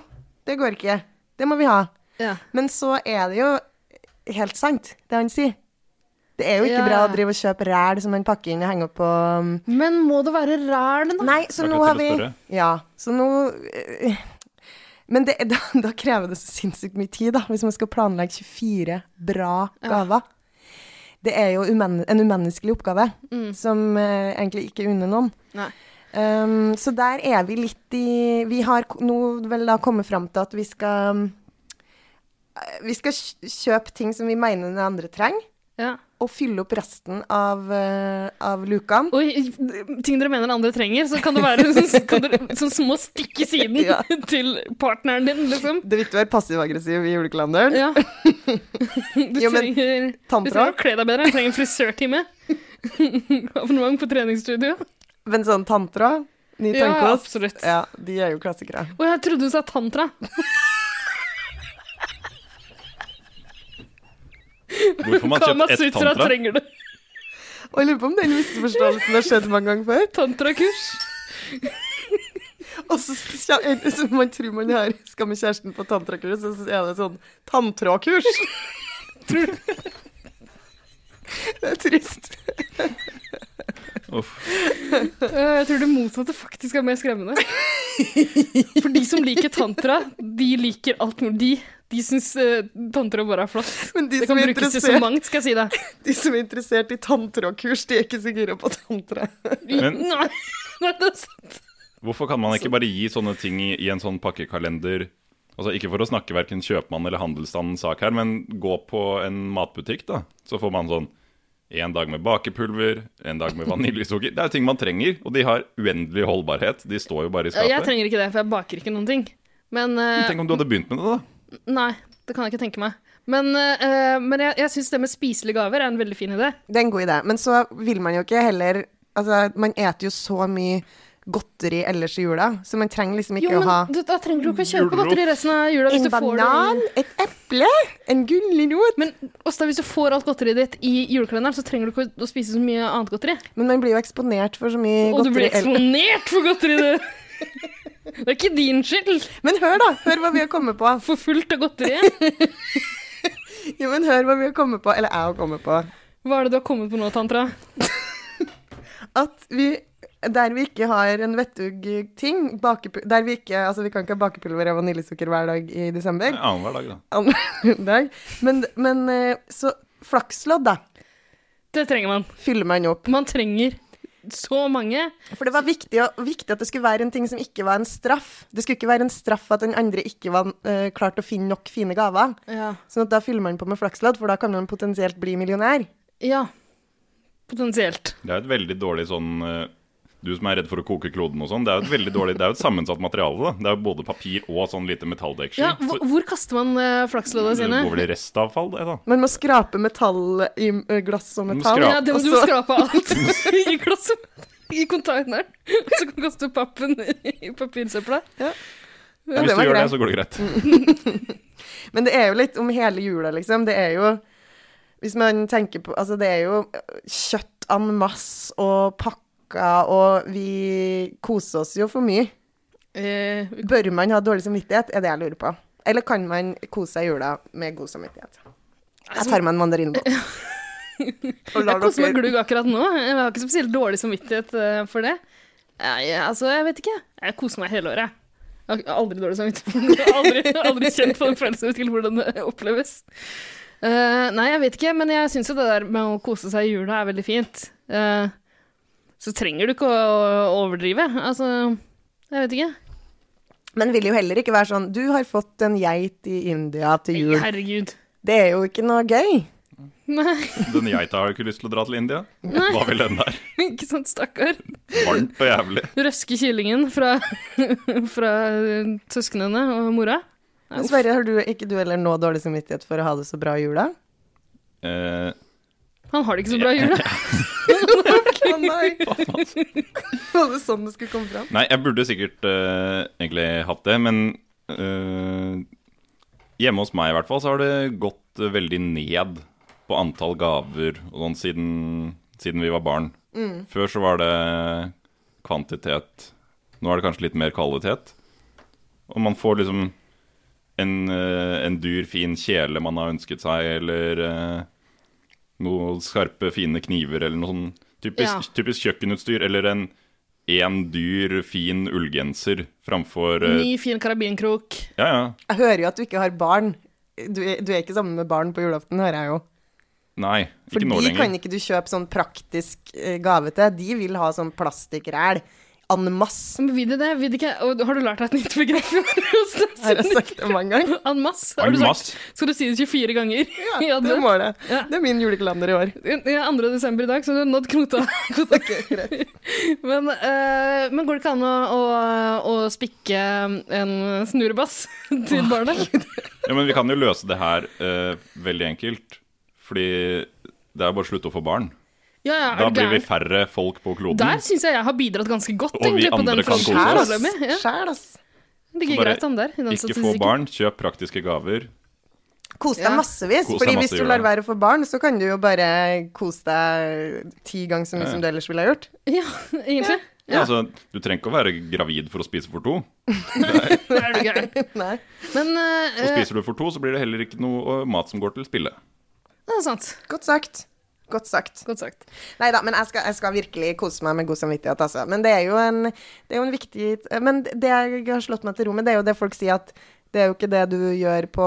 S1: Det går ikke. Det må vi ha.
S2: Ja.
S1: Men så er det jo helt sant, det han sier. Det er jo ikke
S2: Ja.
S1: bra å drive og kjøpe ræl som man pakker inn og henger opp på um,
S2: Men må det være rælen, da?
S1: Nei, så
S3: Det er
S1: nå
S3: ikke
S1: har vi
S3: til å spørre.
S1: Ja, så nå eh, Men det, da, da krever det så sinnssykt mye tid, da, hvis man skal planlegge 24 bra gaver. Det er jo umen, en umenneskelig oppgave som eh, egentlig ikke unner noen.
S2: Nei.
S1: Um, så der er vi litt i Vi har k- nå vel da kommet fram til at vi skal um, eh, Vi skal kj- kjøpe ting som vi mener den andre trenger,
S2: Ja.
S1: og fylle opp resten av, eh, av lukene.
S2: Oi, ting dere mener andre trenger, så kan det være sånn- kan dere, sånn små stikk i siden
S1: Ja.
S2: til partneren din, liksom.
S1: Det er viktig å være passiv-aggressiv i julekalenderen.
S2: Ja. Du
S1: Jo, men
S2: trenger, du trenger å
S1: Tanntråd.
S2: kle deg bedre. Du trenger en frisørtime. Abonnement på treningsstudio.
S1: Men sånn tanntråd, ny
S2: Ja,
S1: tannkost
S2: absolutt.
S1: Ja, de er jo klassikere.
S2: Og jeg trodde du sa tantra.
S3: Hvor får man kjøpt ett
S2: Kamasutra
S3: tantra?
S2: trenger du.
S1: Og jeg lurer på om den misforståelsen har skjedd mange ganger før.
S2: Tantrakurs.
S1: Og så, så så man tror man har skal med kjæresten på tantrakurs, og så er det sånn tanntrådkurs. Tror du? Det er trist.
S3: Uff.
S2: Eh, Jeg tror det motsatte faktisk er mer skremmende. For de som liker tantra, de liker alt mulig. De, de syns eh, tantra bare er flott.
S1: Men de
S2: Det
S1: som
S2: kan
S1: er
S2: brukes til så
S1: interessert,
S2: mangt, skal jeg si deg.
S1: de som er interessert i tanntrådkurs, de er ikke så gira på tantra.
S3: Men-
S2: Nei, nei, det er sant.
S3: Hvorfor kan man ikke bare gi sånne ting i, i en sånn pakkekalender? Altså Ikke for å snakke hverken kjøpmann eller handelsstandens sak her, men gå på en matbutikk, da. Så får man sånn en dag med bakepulver, en dag med vaniljesukker. Det er jo ting man trenger, og de har uendelig holdbarhet. De står jo bare i
S2: Jeg
S3: skapet.
S2: trenger ikke det, for jeg baker ikke noen ting. Men eh,
S3: Tenk om du hadde begynt med det, da.
S2: Nei, det kan jeg ikke tenke meg. Men, eh, men jeg, jeg syns det med spiselige gaver er en veldig fin idé.
S1: Det er en god idé, men så vil man jo ikke heller Altså, man eter jo så mye godteri ellers i jula, så man trenger liksom ikke
S2: Jo,
S1: å ha
S2: men du, Da trenger du ikke å kjøpe
S3: Gulrot.
S2: godteri resten av jula.
S1: en
S2: Hvis du får det
S1: banan,
S2: i-
S1: et eple, en gulrot.
S2: Men Åsta, hvis du får alt godteriet ditt i julekalenderen, så trenger du ikke å- å spise så mye annet godteri.
S1: Men man blir jo eksponert for så mye
S2: Og du blir
S1: godteri. ell-
S2: eksponert for godteri, du! Det er ikke din skyld!
S1: Men hør, da! Hør hva vi har kommet på.
S2: For fullt av godteriet.
S1: Jo, men hør hva vi har kommet på, eller jeg har kommet på.
S2: Hva er det du har kommet på nå, Tantra?
S1: At vi der vi ikke har en vettug ting bakepu- Der vi ikke Altså, vi kan ikke ha bakepulver og vaniljesukker hver dag i desember.
S3: Annenhver dag, da.
S1: Annen dag. Men, men eh, så flakslodd, da,
S2: Det trenger man.
S1: fyller man opp.
S2: Man trenger så mange.
S1: For det var viktig, å- viktig at det skulle være en ting som ikke var en straff. Det skulle ikke være en straff at den andre ikke var eh, klart å finne nok fine gaver.
S2: Ja.
S1: Sånn at da fyller man på med flakslodd, for da kan man potensielt bli millionær.
S2: ja. Potensielt.
S3: Det er jo et veldig dårlig sånn eh, Du som er redd for å koke kloden og sånn, det er jo et veldig dårlig Det er jo et sammensatt materiale, da. Det er jo både papir og sånn lite metalldeksel.
S2: Ja, hvor, hvor kaster man uh,
S3: så
S2: flaksloddene
S3: det
S2: sine?
S3: går vel i restavfall, det, da.
S1: Man må skrape metall i eh, glass og
S3: må
S1: metall. Altså,
S3: skrape.
S2: Ja, det må
S1: og
S2: du
S1: så-
S2: skrape alt i glasset. I containeren. Så kan du kaste pappen i papirsøpla.
S1: Ja,
S3: Hvis
S1: det
S3: du
S1: var greit.
S3: gjør det,
S1: Mm.
S3: så går det greit.
S1: Men det er jo litt om hele jula, liksom. Det er jo Hvis man tenker på Altså, det er jo kjøtt en masse og pakker, og vi koser oss jo for mye.
S2: Eh,
S1: Bør man ha dårlig samvittighet, er det jeg lurer på. Eller kan man kose seg i jula med god samvittighet? Jeg tar meg en mandarinbåt. Og
S2: jeg
S1: lar
S2: koser meg
S1: dere
S2: glugg akkurat nå. Jeg har ikke spesielt dårlig samvittighet eh, for det. Nei, altså, jeg vet ikke. Jeg koser meg hele året. Jeg har aldri dårlig samvittighet. Jeg har Aldri, aldri kjent på den følelsen til hvordan det oppleves. Eh, nei, jeg vet ikke, men jeg syns jo det der med å kose seg i jula er veldig fint. Eh, så trenger du ikke å overdrive. Altså, jeg vet ikke.
S1: Men vil jo heller ikke være sånn Du har fått en geit i India til jul.
S2: Herregud.
S1: Det er jo ikke noe gøy.
S2: Nei.
S3: Den geita har jo ikke lyst til å dra til India.
S2: Nei.
S3: Hva vil den der?
S2: Ikke sant, stakkar.
S3: Varmt og jævlig.
S2: Røske kyllingen fra, fra eh, søsknene og mora. Nei,
S1: Men
S2: uff.
S1: Sverre, har du, ikke du heller nå dårlig samvittighet for å ha det så bra i jula?
S3: Eh,
S2: Han har det ikke så bra i jula.
S1: Å nei! Var det sånn det skulle komme fram?
S3: nei, jeg burde sikkert eh, egentlig hatt det, men eh, Hjemme hos meg i hvert fall så har det gått eh, veldig ned på antall gaver og sånn siden, siden vi var barn. Før så var det kvantitet. Nå er det kanskje litt mer kvalitet. Og man får liksom en, eh, en dyr, fin kjele man har ønsket seg, eller eh, noe skarpe, fine kniver, eller noe sånn typisk,
S2: Ja.
S3: typisk kjøkkenutstyr, eller en én dyr, fin ullgenser framfor eh,
S2: Ny, fin karabinkrok.
S3: Ja, ja.
S1: Jeg hører jo at du ikke har barn. Du er, du er ikke sammen med barn på julaften, hører jeg jo.
S3: Nei,
S1: For
S3: ikke nå
S1: de
S3: lenger.
S1: kan ikke du kjøpe sånn praktisk eh, gave til. De vil ha sånn plastikkræl. en masse.
S2: Men vil de det? Vil de ikke? Og har du lært deg et nytt begrep?
S1: Har
S2: Sånn
S1: jeg sagt det mange ganger?
S2: En masse. Har
S3: En
S2: du sagt,
S3: masse.
S2: skal du si det 24 ganger? i
S1: Ja, det
S2: advent?
S1: må det.
S2: Ja.
S1: Det er min julekalender i år.
S2: Det er 2. desember i dag, så du har nådd knota. knota. men, eh, men går det ikke an å, å, å spikke en eh, snurrebass til barnet?
S3: Ja, men vi kan jo løse det her eh, veldig enkelt. Fordi det er bare å slutte å få barn.
S2: Ja, ja,
S3: Da
S2: er du
S3: blir vi
S2: gæren?
S3: færre folk på kloden.
S2: Der syns jeg jeg har bidratt ganske godt.
S3: Og vi
S2: egentlig, på
S3: andre
S2: den
S3: kan
S2: fronten.
S1: Sjæl,
S3: kose
S1: ass.
S2: Foreløpig, Ja,
S1: Sjæl, ass.
S2: det ligger
S3: Så bare
S2: greit an der. i den
S3: Ikke få
S2: statistikken.
S3: barn, kjøp praktiske gaver.
S1: Kos deg
S2: Ja.
S1: massevis.
S3: Kos deg
S1: fordi
S3: masse,
S1: hvis du
S3: gjør
S1: lar
S3: det.
S1: være å få barn, så kan du jo bare kose deg ti ganger så mye
S3: Ja.
S1: som du ellers ville ha gjort.
S2: Ja, egentlig. Ja.
S3: Altså, du trenger ikke å være gravid for å spise for to.
S2: Er du gæren?
S1: Nei.
S2: Men eh,
S3: Og spiser du for to, så blir det heller ikke noe eh, mat som går til spille.
S2: det er sant.
S1: Godt sagt. Godt sagt.
S2: Godt sagt.
S1: Nei da, men jeg skal, jeg skal virkelig kose meg med god samvittighet, altså. Men det er jo en, det er jo en viktig Men det jeg har slått meg til ro med, det er jo det folk sier at det er jo ikke det du gjør på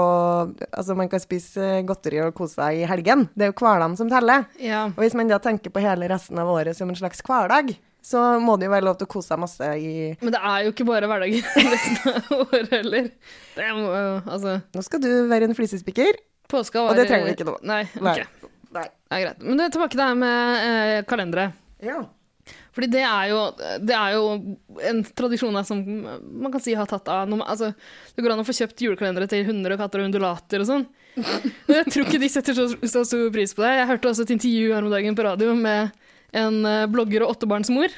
S1: Altså, man kan spise godteri og kose seg i helgen. Det er jo hverdagen som teller.
S2: Ja.
S1: Og hvis man da tenker på hele resten av året som en slags hverdag, så må det jo være lov til å kose seg masse i
S2: Men det er jo ikke bare hverdagen resten av året heller. Det er, jo, eh, altså,
S1: Nå skal du være en flisespikker.
S2: påska var
S1: Og det trenger vi ikke nå.
S2: Nei,
S1: Nei.
S2: ok.
S1: Nei.
S2: Det er greit. Men du, tilbake til det her med eh, kalendere.
S1: Ja.
S2: Fordi det er, jo, det er jo en tradisjon her som man kan si har tatt av. Når man, altså, det går an å få kjøpt julekalendere til hunder og katter og undulater og sånn. Men jeg tror ikke de setter så, så stor pris på det. Jeg hørte også et intervju her om dagen på radio med en eh, blogger og åttebarnsmor.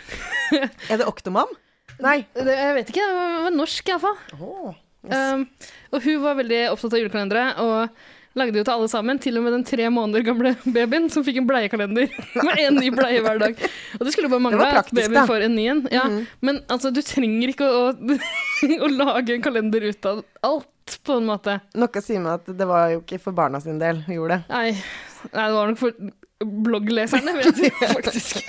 S1: Er det Oktomam? Nei.
S2: Det, jeg vet ikke, det var norsk iallfall.
S1: Åh.
S2: Um, og hun var veldig opptatt av julekalendere, og lagde jo til alle sammen, til og med den tre måneder gamle babyen som fikk en bleiekalender med én ny bleie hver dag. Og det skulle bare mangle
S1: Det var
S2: at
S1: praktisk, da. Mm-hmm.
S2: babyen får en ny en. Ja, Men altså, du trenger ikke å, å, å lage en kalender ut av alt, på en måte.
S1: Noe sier meg at det var jo ikke for barna sin del hun gjorde det.
S2: Nei, nei det var nok for bloggleserne, vet du, faktisk.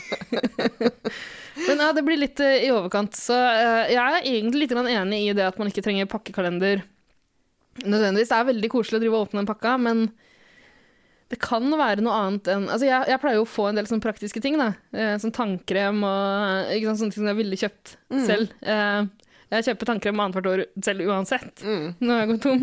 S2: Men ja, det blir litt eh, i overkant. Så eh, jeg er egentlig litt grann enig i det at man ikke trenger pakkekalender nødvendigvis. Det er veldig koselig å drive og åpne en pakke, men det kan være noe annet enn Altså, jeg, jeg pleier jo å få en del sånne praktiske ting, da. Eh, Sånn tannkrem og ikke sant, sånne ting som jeg ville kjøpt selv. Eh, Jeg kjøper tannkrem annethvert år selv uansett.
S1: Mm.
S2: Nå har jeg gått tom.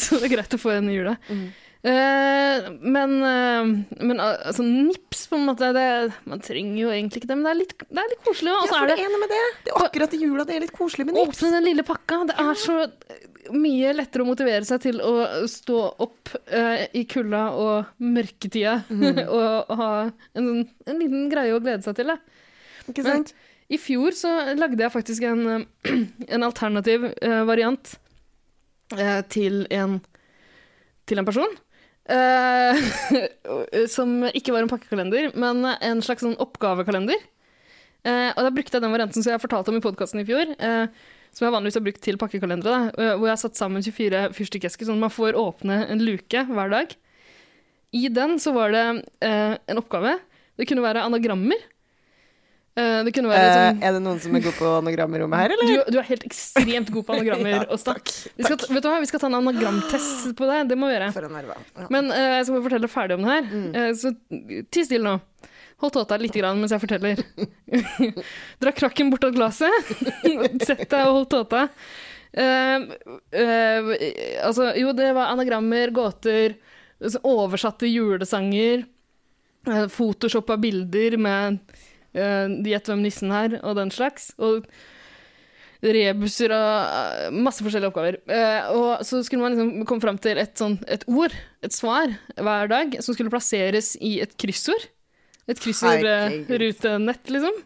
S2: så det er greit å få en i jula.
S1: Mm.
S2: Eh, men eh, men al- altså, nips, på en måte det, Man trenger jo egentlig ikke det, men det er litt, det er litt koselig. Og
S1: Ja,
S2: så
S1: for
S2: er
S1: det
S2: det
S1: er noe med det. Det er akkurat i jula, det er litt koselig med nips.
S2: åpne den lille pakka. Det er så eh, mye lettere å motivere seg til å stå opp eh, i kulda og mørketida
S1: Mm.
S2: og ha en, sånn- en liten greie å glede seg til. Da.
S1: Ikke
S2: Men-
S1: sant?
S2: I fjor så lagde jeg faktisk en, eh, en alternativ eh, variant eh, til, en, til en person. eh, som ikke var en pakkekalender, men en slags sånn oppgavekalender. Eh, og da brukte jeg den varianten som jeg fortalte om i podkasten i fjor. eh, som jeg vanligvis har brukt til pakkekalendere. Da, eh, hvor jeg har satt sammen 24 fyrstikkesker, sånn at man får åpne en luke hver dag. I den så var det eh, en oppgave. Det kunne være anagrammer. Eh, det kunne være
S1: Eh,
S2: sånn
S1: er det noen som er god på anagrammer i rommet her, eller?
S2: du, du er helt ekstremt god på anagrammer,
S1: Ja,
S2: Åsta.
S1: takk,
S2: Vi skal, vet du hva, vi skal ta en anagramtest på deg. Det må vi gjøre.
S1: For en nerve. Ja.
S2: Men eh, jeg skal bare fortelle ferdig om det her.
S1: Mm.
S2: Eh, så ti stille nå. Hold tåta litt grann mens jeg forteller. Dra krakken bort av glasset. Sett deg og hold tåta. Eh, eh, altså, jo, det var anagrammer, gåter, altså oversatte julesanger, uh, photoshoppa bilder med eh, de Gjett hvem nissen er, og den slags. Og rebuser og eh, masse forskjellige oppgaver. Eh, og så skulle man liksom komme fram til et, sånn, et ord, et svar, hver dag, som skulle plasseres i et kryssord. Et kryssordrutenett, liksom.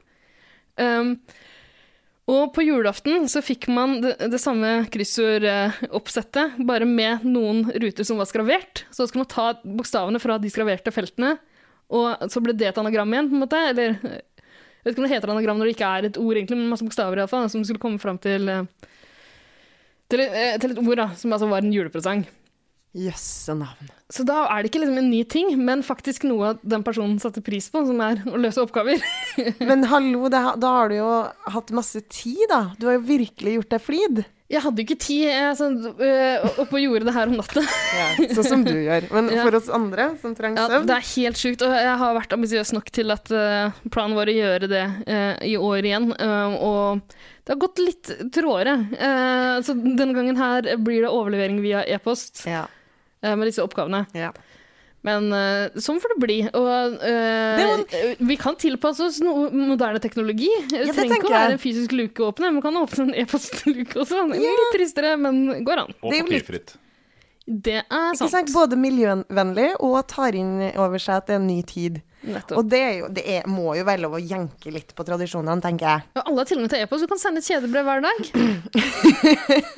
S2: Um, og på julaften så fikk man det, det samme kryssordoppsettet, bare med noen ruter som var skravert. Så skulle man ta bokstavene fra de skraverte feltene, og så ble det et anagram igjen, på en måte. Eller jeg vet ikke om det heter anagram når det ikke er et ord, egentlig, men masse bokstaver iallfall, som skulle komme fram til eh, til, eh, til et ord da, som altså var en julepresang.
S1: Jøsse navn.
S2: Så da er det ikke liksom en ny ting, men faktisk noe den personen satte pris på, som er å løse oppgaver.
S1: Men hallo, det, ha- da har du jo hatt masse tid, da. Du har jo virkelig gjort deg flid.
S2: Jeg hadde ikke tid, jeg sånn, øh, oppe og gjorde det her om natta.
S1: Sånn som du gjør. Men
S2: Ja.
S1: for oss andre som trenger
S2: Ja,
S1: søvn
S2: det er helt sjukt, og jeg har vært ambisiøs nok til at øh, planen var å gjøre det øh, i år igjen. øh, og det har gått litt tråere. Eh, så denne gangen her blir det overlevering via e-post
S1: ja,
S2: eh, med disse oppgavene.
S1: ja.
S2: Men eh, sånn får det bli. Og eh, vi kan tilpasse oss noe moderne teknologi. Det
S1: det
S2: trenger ikke å
S1: tenker jeg.
S2: være en fysisk luke å åpne, man kan åpne en e-postluke også. Det er Litt tristere, men går an.
S3: Og
S1: Det er jo litt-
S3: papirfritt.
S2: Det er
S1: Ikke
S2: sant.
S1: sant? Både miljøvennlig og tar inn over seg at det er en ny tid.
S2: Nettopp.
S1: Og det, er jo, det er, må jo være lov å jenke litt på tradisjonene, tenker jeg.
S2: Ja, alle har tilgang til e-post. Du kan sende et kjedebrev hver dag.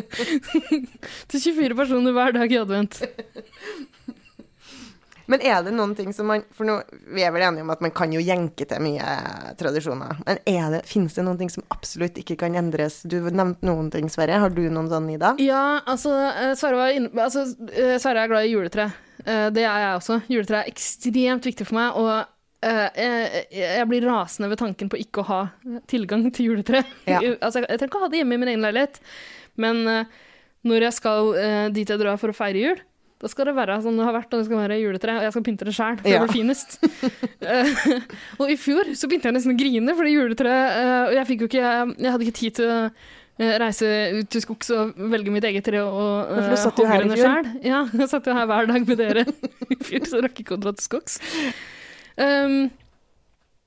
S2: til 24 personer hver dag i advent.
S1: Men er det noen ting som man For nå, vi er vel enige om at man kan jo jenke til mye tradisjoner. Men er det, finnes det noen ting som absolutt ikke kan endres? Du nevnte noen ting, Sverre. Har du noen sånne, Ida?
S2: Ja, altså, eh, Sverre, var inne, altså eh, Sverre er glad i juletre. Eh, Det er jeg også. Juletre er ekstremt viktig for meg, og eh, jeg, jeg blir rasende ved tanken på ikke å ha tilgang til juletre.
S1: Ja.
S2: altså, jeg trenger ikke å ha det hjemme i min egen leilighet, men eh, når jeg skal eh, dit jeg drar for å feire jul, da skal det være sånn det har vært, og det skal være juletre, og jeg skal pynte det sjæl, for
S1: Ja.
S2: det blir finest. Eh, og i fjor så begynte jeg nesten å grine, fordi juletreet eh, Og jeg fikk jo ikke Jeg hadde ikke tid til å eh, reise ut til skogs og velge mitt eget tre og
S1: Ja, for
S2: eh,
S1: du satt jo her i
S2: hogge det
S1: fjor.
S2: selv. Ja, jeg satt jo her hver dag med dere i fjor, så jeg rakk ikke å dra til skogs. Um,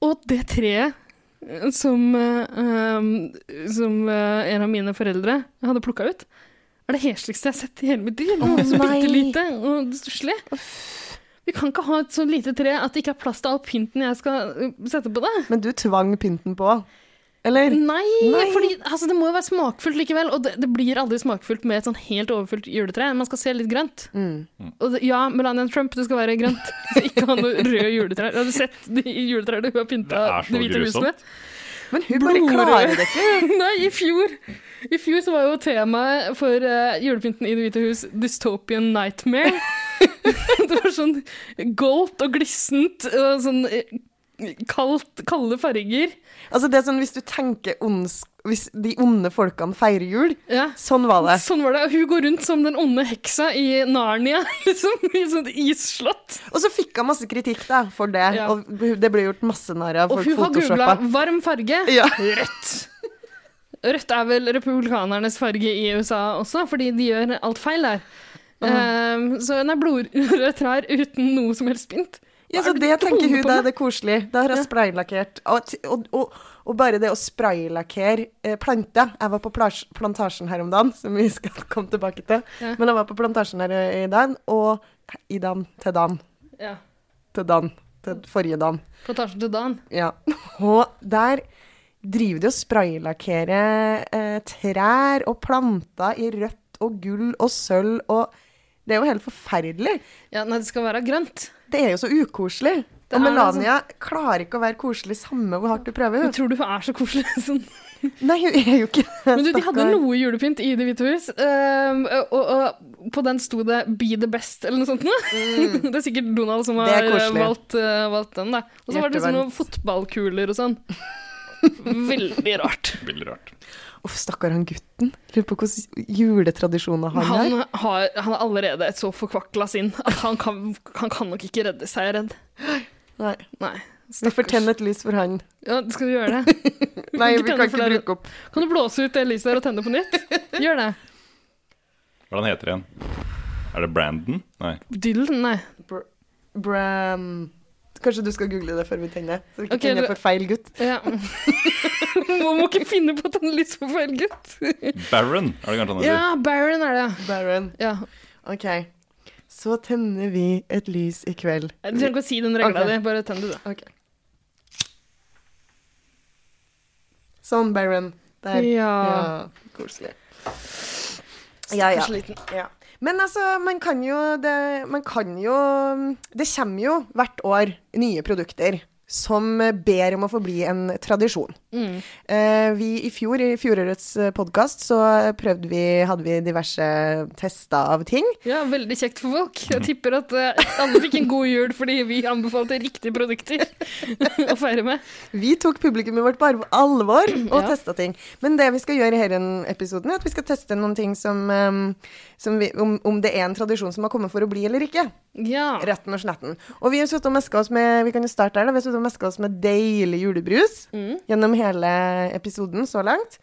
S2: og det treet eh, som, eh, um, som eh, en av mine foreldre hadde plukka ut, er det hesligste jeg har sett i hele mitt liv. Det er så
S1: nei.
S2: bitte lite og stusslig. Vi kan ikke ha et så lite tre at det ikke er plass til all pynten jeg skal uh, sette på det.
S1: Men du tvang pynten på, eller?
S2: Nei,
S1: Nei.
S2: fordi altså, det må jo være smakfullt likevel. Og det, det blir aldri smakfullt med et sånn helt overfylt juletre. Man skal se litt grønt.
S1: Mm.
S2: Og det, ja, Melania Trump, det skal være grønt. Du skal ikke ha noe røde juletrær. Har du sett de juletrærne hun har pynta
S3: Det er så
S2: Det Hvite hus
S3: grusomt.
S2: med?
S1: Men hun bare
S2: Blodrød.
S1: klarer det ikke.
S2: Nei, i fjor I fjor så var jo temaet for eh, julepynten i Det hvite hus Dystopian Nightmare. det var sånn goldt og glissent og sånn eh, kaldt, kalde farger.
S1: Altså, det er sånn hvis du tenker ondsk Hvis de onde folkene feirer jul,
S2: Ja.
S1: sånn var det.
S2: Sånn var det. Hun går rundt som den onde heksa i Narnia, liksom. I sånt isslott.
S1: Og så fikk hun masse kritikk da, for det,
S2: Ja.
S1: og det ble gjort masse narr av
S2: Og
S1: folk
S2: hun har googla
S1: photoshoppa.
S2: 'varm farge'.
S1: Ja.
S2: Rødt. Rødt er vel republikanernes farge i USA også, fordi de gjør alt feil der. Ehm, så nei, blodrøde trær uten noe som helst pynt.
S1: Ja, så
S2: Er det
S1: det
S2: du
S1: tenker
S2: holder
S1: hun,
S2: på
S1: da
S2: med?
S1: er det koselig. Da har hun spraylakkert. Og, t- og, og, og bare det å spraylakkere eh, planter Jeg var på plas- plantasjen her om dagen, som vi skal komme tilbake til.
S2: Ja.
S1: Men jeg var på plantasjen her i- i dag, og i dag til dagen.
S2: Ja.
S1: Til dagen. Til forrige dagen.
S2: Plantasjen til Dan.
S1: Ja. Og der driver de og spraylakkerer eh, trær og planter i rødt og gull og sølv og Det er jo helt forferdelig.
S2: Ja, nei, det skal være grønt.
S1: Det er jo så ukoselig.
S2: Det
S1: og
S2: er det,
S1: Melania klarer ikke å være koselig samme hvor hardt du prøver.
S2: Jeg tror du hun er så koselig. Sånn.
S1: Nei, hun er jo ikke det.
S2: Men du, de hadde
S1: stakkar.
S2: noe julepynt i Det hvite hus, ehm, og, og på den sto det 'Be the best' eller noe sånt. nå.
S1: Mm.
S2: Det er sikkert Donald som
S1: Det
S2: har
S1: er koselig.
S2: valgt, eh, valgt den, da. Og så var det liksom noen
S1: Hjertevarmt.
S2: fotballkuler og sånn. Veldig rart.
S3: Veldig rart.
S1: Uff, stakkar han gutten. Lurer på hvilke juletradisjoner han har.
S2: Han har, han har allerede et så forkvakla sinn at han kan, han kan nok ikke redde seg, jeg er redd.
S1: Nei,
S2: Nei.
S1: vi får tenne et lys for han.
S2: Ja, skal du gjøre det?
S1: Nei,
S2: ikke
S1: vi kan
S2: tenne
S1: ikke
S2: flere.
S1: bruke opp
S2: Kan du blåse ut det lyset der og tenne på nytt? Gjør det.
S3: Hvordan heter det igjen? Er det Brandon? Nei.
S2: Dylan, nei.
S1: br Bram Kanskje du skal google det før vi tenner? Så vi ikke
S2: Ok,
S1: tenner
S2: du-
S1: for feil gutt.
S2: Ja. Man må ikke finne på å tenne lys på feil gutt.
S3: Baron, er det kanskje han heter?
S2: Ja, Baron er det.
S1: Baron.
S2: Ja.
S1: OK. Så tenner vi et lys i kveld.
S2: Du trenger ikke å si den regla
S1: Ok.
S2: di, bare tenn du, da.
S1: OK. Sånn, Baron. Der.
S2: Ja.
S1: Ja, koselig. Ja, ja.
S2: Stakkars liten.
S1: Ja. Men altså, man kan jo det, Man kan jo Det kommer jo hvert år nye produkter som eh, ber om å forbli en tradisjon.
S2: Mm.
S1: Eh, vi i fjor, i fjorårets podkast, så prøvde vi Hadde vi diverse tester av ting.
S2: Ja, veldig kjekt for folk. Jeg tipper at eh, alle fikk en god jul fordi vi anbefalte riktige produkter å feire med.
S1: Vi tok publikummet vårt på arv- alvor og
S2: Ja.
S1: testa ting. Men det vi skal gjøre i denne episoden, er at vi skal teste noen ting som, ehm, som vi, om, om det er en tradisjon som har kommet for å bli eller ikke.
S2: Ja.
S1: Retten og sletten. Og vi har suttet og meska oss med vi kan jo starte her da, vi har suttet og meska oss med deilig julebrus
S2: Mm.
S1: gjennom hele episoden så langt.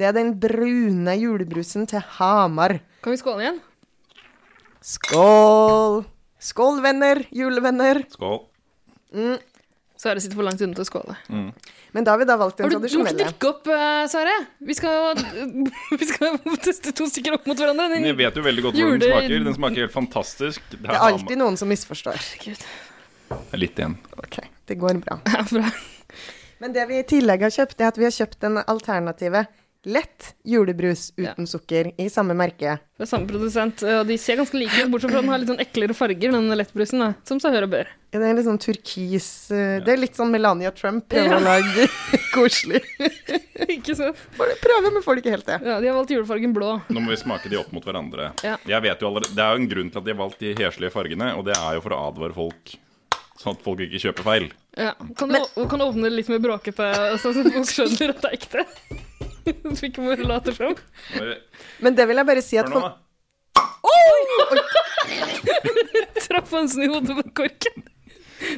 S1: Det er den brune julebrusen til Hamar.
S2: Kan vi skåle igjen?
S1: Skål! Skål, venner. Julevenner.
S3: Skål.
S2: Sverre sitter for langt unna til å skåle.
S1: Men da har vi da valgt den
S2: Har du du må ikke
S1: tradisjonelle.
S2: drikke opp, eh, Sverre. Vi skal, vi skal teste to stykker opp mot hverandre.
S3: Men jeg
S2: Den,
S3: vet jo veldig godt hvor
S2: Jule-
S3: den smaker. Den smaker helt fantastisk. Det
S1: Det er
S3: ham-
S1: alltid noen som misforstår.
S2: Herregud.
S3: Litt igjen.
S1: Ok, det går bra.
S2: Herfra.
S1: Men det vi i tillegg har kjøpt, det er at vi har kjøpt den alternative lett julebrus uten sukker i samme merke.
S2: Fra samme produsent. Og de ser ganske like ut, bortsett fra at den har litt sånn eklere farger, den lettbrusen. da, Som seg hør og bør.
S1: Ja, Det er litt sånn turkis eh, Det er litt sånn Melania Trump prøver
S2: Ja.
S1: å lage koselig.
S2: Ikke sant?
S1: Får- Prøver, men får det ikke helt til.
S2: Ja, de har valgt julefargen blå.
S3: Nå må vi smake de opp mot hverandre.
S2: Ja.
S3: Jeg vet jo allerede, Det er jo en grunn til at de har valgt de heslige fargene, og det er jo for å advare folk, sånn at folk ikke kjøper feil.
S2: Ja. Kan, du, å- kan du åpne det litt mer bråkete, så folk skjønner at det er ekte? Så vi ikke bare later som.
S3: Hør
S1: Men det vil jeg bare si at
S3: hør nå,
S1: for,
S3: da.
S2: Traff Hansen i hodet med korken.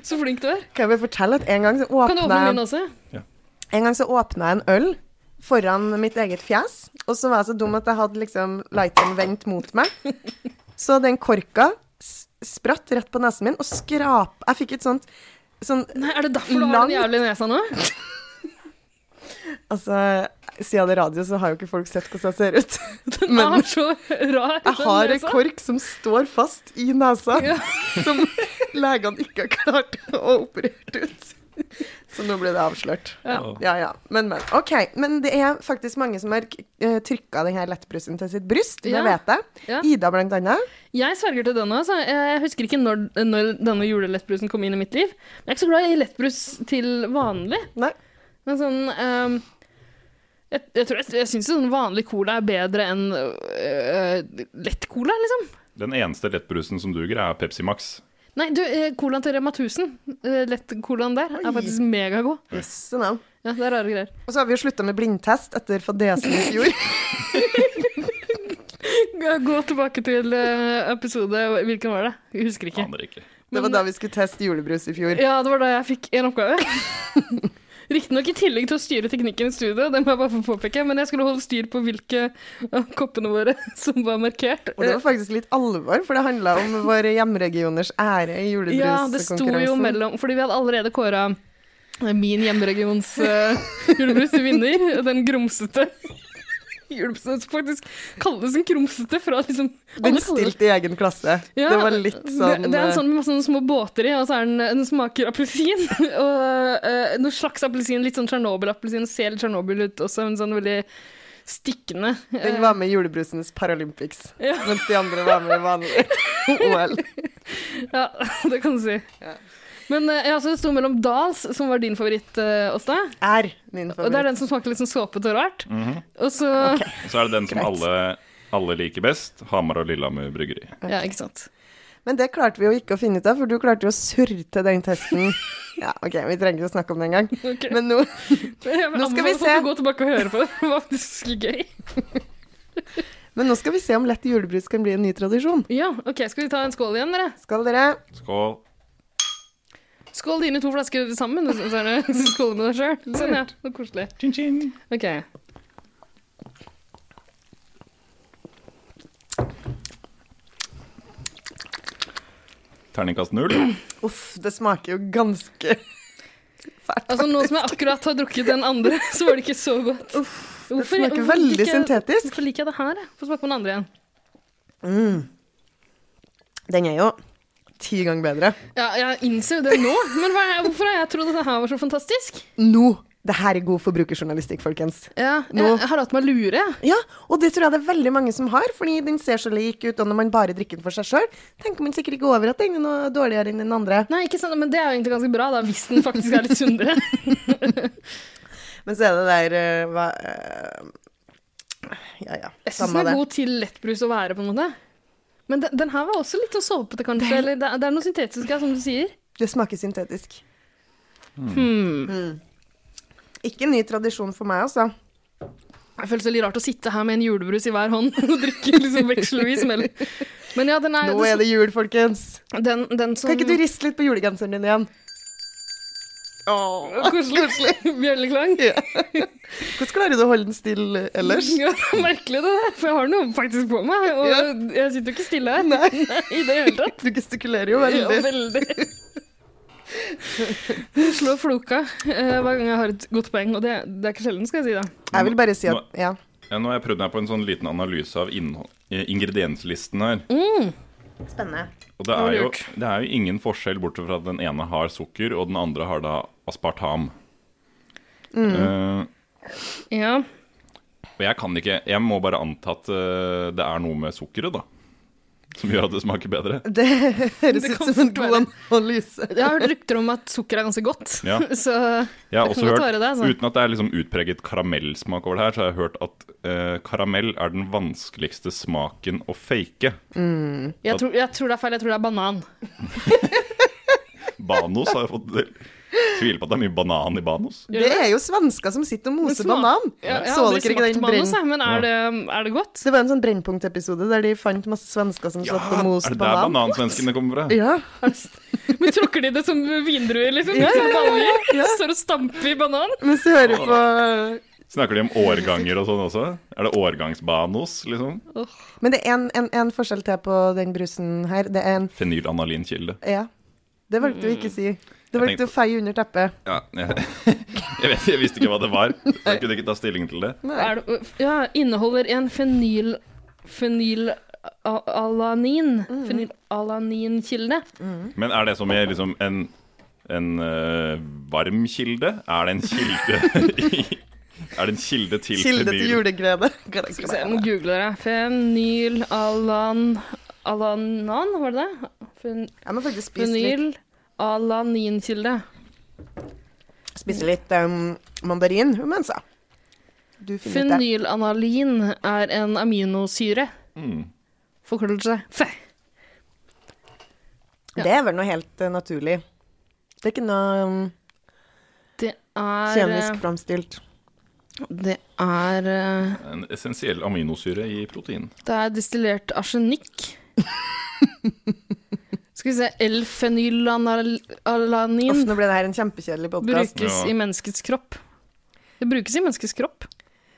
S2: Så flink du er.
S1: kan jeg bare fortelle at en gang så
S2: Kan du åpne
S1: åpna
S2: min også?
S1: En gang så åpna jeg en øl foran mitt eget fjes, og så var jeg så dum at jeg hadde liksom lighteren vendt mot meg. Så den korka s- spratt rett på nesen min og skrap Jeg fikk et sånt sånn
S2: Nei, Er det derfor du har den jævlig nesa nå?
S1: Altså, siden det er radio, så har jo ikke folk sett hvordan jeg ser ut.
S2: Den
S1: Men-
S2: er så rar.
S1: Jeg
S2: den
S1: har en
S2: nesa.
S1: kork som står fast i nesa,
S2: Ja.
S1: som legene ikke har klart å operere ut. Så nå ble det avslørt.
S2: Ja.
S1: Ja, ja. Men, men. Ok, men det er faktisk mange som har uh, trykka denne lettbrusen til sitt bryst, det
S2: Ja.
S1: vet jeg.
S2: Ja.
S1: Ida, blant annet.
S2: Jeg sverger til den også. Jeg husker ikke når, når denne julelettbrusen kom inn i mitt liv. Jeg er ikke så glad i lettbrus til vanlig.
S1: Nei.
S2: Men sånn ehm, jeg, jeg, tror jeg, jeg syns sånn vanlig cola er bedre enn øh, øh, lett cola, liksom.
S3: Den eneste lettbrusen som duger, er Pepsi Max.
S2: Nei, du, eh, colaen til Rema 1000, eh, lett colaen der,
S1: Oi.
S2: er faktisk megagod.
S1: Jøsse navn.
S2: Ja, det er rare greier.
S1: Og så har vi jo slutta med blindtest etter fadesen i fjor.
S2: Gå tilbake til eh, episode Hvilken var det? Jeg husker ikke.
S3: Aner ikke.
S1: Det var da vi skulle teste julebrus i fjor.
S2: Ja, det var da jeg fikk en oppgave. Riktignok i tillegg til å styre teknikken i studio, det må jeg bare få påpeke, men jeg skulle holde styr på hvilke av koppene våre som var markert.
S1: Og det var faktisk litt alvor, for det handla om våre hjemregioners ære i
S2: Eh, Ja, det sto jo
S1: julebruskonkurransen.
S2: mellom Fordi vi hadde allerede kåra min hjemregions uh, julebrus til vinner. Den grumsete. Julebrusen som faktisk kalles en grumsete fra liksom
S1: Den
S2: alle kaller det-
S1: stilte i egen klasse.
S2: Ja,
S1: det var litt sånn
S2: det, det er en sånn med masse sånne små båter i, og så er den, eh, den smaker appelsin. og eh, noe slags appelsin, litt sånn Tsjernobyl-appelsin. Ser litt Tsjernobyl ut også, men sånn veldig stikkende.
S1: Den var med i julebrusens Paralympics,
S2: eh, Ja.
S1: mens de andre var med i vanlig OL.
S2: Ja, det kan du si.
S1: Ja.
S2: Men eh, ja, så det sto mellom Dals, som var din favoritt, eh, Åsta.
S1: Er min
S2: Og det er
S1: favoritt.
S2: den som smaker litt sånn såpete og rart. Og så
S3: Og så er det den som
S1: Greit.
S3: alle, alle liker best. Hamar og Lillehammer bryggeri.
S2: Ja, ikke sant.
S1: Men det klarte vi jo ikke å finne ut av, for du klarte jo å surte den testen. Ja, ok, vi trenger ikke å snakke om det engang.
S2: Ok.
S1: Men nå
S2: Jeg vil
S1: Nå skal vi
S2: anbefale folk
S1: se.
S2: å Gå tilbake og høre på det. Det var faktisk gøy.
S1: Men nå skal vi se om lett julebrus kan bli en ny tradisjon.
S2: Ja, OK, skal vi ta en skål igjen, dere?
S1: Skal dere
S3: Skål.
S2: Skål dine to flasker sammen, og så så er det skål med deg sjøl. Sånn, ja. Så koselig.
S3: Chin, chin.
S2: OK.
S3: Terningkast null.
S1: Uff, det smaker jo ganske fælt.
S2: Altså, nå som jeg akkurat har drukket den andre, så var det ikke så godt.
S1: Det
S2: Hvorfor-
S1: smaker
S2: hvorfor
S1: veldig
S2: liker jeg-
S1: syntetisk.
S2: Hvorfor liker jeg det her? jeg? Få smake på den andre igjen.
S1: Mm. Den er jo ti ganger bedre.
S2: Ja, jeg innser jo det nå, men hva, er- hvorfor har jeg trodd at det her var så fantastisk?
S1: Nå Det her er god forbrukerjournalistikk, folkens.
S2: Ja, jeg,
S1: Nå-
S2: jeg har hatt meg lure, jeg.
S1: Ja, og det tror jeg det er veldig mange som har, fordi den ser så lik ut, og når man bare drikker den for seg sjøl, tenker man sikkert ikke over at den er noe dårligere enn den andre.
S2: Nei, ikke sant, men det er jo egentlig ganske bra, da, hvis den faktisk er litt sunnere.
S1: Men så er det der eh, hva eh, Ja, ja.
S2: Jeg syns
S1: Samme
S2: den
S1: det.
S2: er god til lettbrus å være, på en måte. Men den, den her var også litt sånn såpete, kanskje. Eller det, er- det er noe syntetisk her, som du sier.
S1: Det smaker syntetisk. Mm.
S2: Hmm.
S1: Ikke en ny tradisjon for meg, altså.
S2: Det føles veldig rart å sitte her med en julebrus i hver hånd og drikke liksom vekselvis. mellom- Men ja, den er,
S1: Nå er det jul, folkens.
S2: Den, den som
S1: Kan ikke du riste litt på julegenseren din igjen?
S2: Koselig. Bjelleklang.
S1: Hvordan klarer du å holde den stille ellers?
S2: Ja, det er merkelig det der, for jeg har noe faktisk på meg. Og jeg sitter jo ikke stille her
S1: Nei,
S2: i det hele tatt.
S1: du gestikulerer jo
S2: Ja,
S1: veldig.
S2: veldig. Hun slår floka eh, hver gang jeg har et godt poeng, og det, det er ikke sjelden, skal jeg si. da.
S1: Jeg vil bare si at Ja.
S3: Ja, nå har jeg prøvd meg på en sånn liten analyse av innhold- eh, ingredienslisten her.
S1: Spennende.
S3: Og det
S2: var
S3: er, jo,
S2: lurt.
S3: det er jo ingen forskjell, bortsett fra at den ene har sukker, og den andre har da aspartam. Eh,
S2: Ja,
S3: og jeg kan ikke Jeg må bare anta at eh, det er noe med sukkeret, da. Som gjør at det smaker bedre.
S1: Det høres
S2: Det
S1: ut som
S2: kan
S1: en
S2: fort
S1: god
S2: være.
S1: analyse.
S2: Jeg har hørt rykter om at sukker er ganske godt,
S3: Ja.
S2: så
S3: Jeg har
S2: Det
S3: også
S2: kan godt
S3: hørt,
S2: være det, altså.
S3: Uten at det er liksom utpreget karamellsmak over det her, så har jeg hørt at eh, karamell er den vanskeligste smaken å fake.
S2: jeg tror, jeg tror det er feil. Jeg tror det er banan.
S3: Banos har jeg fått Tviler på at det er mye banan i Banos.
S2: Gjør
S1: Det er jo svensker som sitter og moser
S2: smak-
S1: banan.
S2: Ja, jeg har
S1: Så
S2: aldri
S1: dere ikke
S2: smakt
S1: den
S2: banan,
S1: brenn...
S2: sa jeg, men er det, er det godt?
S1: Det var en sånn Brennpunkt-episode der de fant masse svensker som satt og
S3: er
S1: moste
S3: det der
S1: banan.
S3: banansvenskene kommer fra?
S1: Ja,
S2: Men tråkker de det som vindruer, liksom?
S1: Ja,
S2: Ja,
S1: ja,
S2: Står og stamper i banan?
S1: mens du hører på
S3: Snakker de om årganger og sånn også? Er det årgangsbanos, liksom?
S1: Men det er en, en, en forskjell til på den brusen her. Det er en
S3: Fenylanalinkilde.
S1: Ja. Det valgte du ikke å si. Du
S3: Mm. Jeg
S1: valgte å feie under teppet.
S3: Ja, jeg, jeg, vet, jeg visste ikke hva det var. Jeg kunne ikke ta stilling til det.
S1: Nei.
S2: Er det, øh, ja, inneholder en fenyl... Fenylalanin. Fenylalanin-kilde.
S3: Men er det som i liksom en, en eh, varm kilde? Er det en kilde i, Er det en kilde til
S1: Kilde til
S3: fenyl?
S1: juleglede.
S2: Skal vi se, jeg må google det. Fenylalan... Alanan, var det det? Fen,
S1: Jeg må faktisk spise litt,
S2: Fenylalaninkilde.
S1: spise litt um, mandarin mens jeg Du finner ut det.
S2: Fenylanalin er en aminosyre.
S3: Mm.
S2: Forkortelse fe. ja.
S1: Det er vel noe helt eh, naturlig. Det er ikke noe um,
S2: Det er eh,
S1: kjemisk framstilt.
S2: Det er eh,
S3: En essensiell aminosyre i protein.
S2: Det er destillert arsenikk. Skal vi se
S1: Uff,
S2: L-fenylalanin
S1: nå ble det her en kjempekjedelig podkast.
S2: brukes
S3: Ja.
S2: i menneskets kropp. Det brukes i menneskets kropp.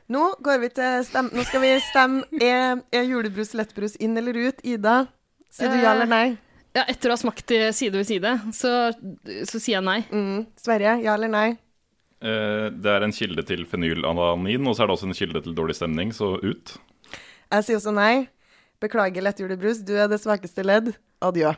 S1: Nå, går vi til stem nå skal vi stemme er, er julebrus lettbrus inn eller ut. Ida, sier du ja eller nei?
S2: Ja, etter å ha smakt det side ved side, så, så sier jeg nei.
S1: Mm. Sverre, ja eller nei?
S3: Eh, det er en kilde til fenylalanin, og så er det også en kilde til dårlig stemning, så ut.
S1: Jeg sier også nei. Beklager lettjulebrus, du er det svakeste ledd. Adjø.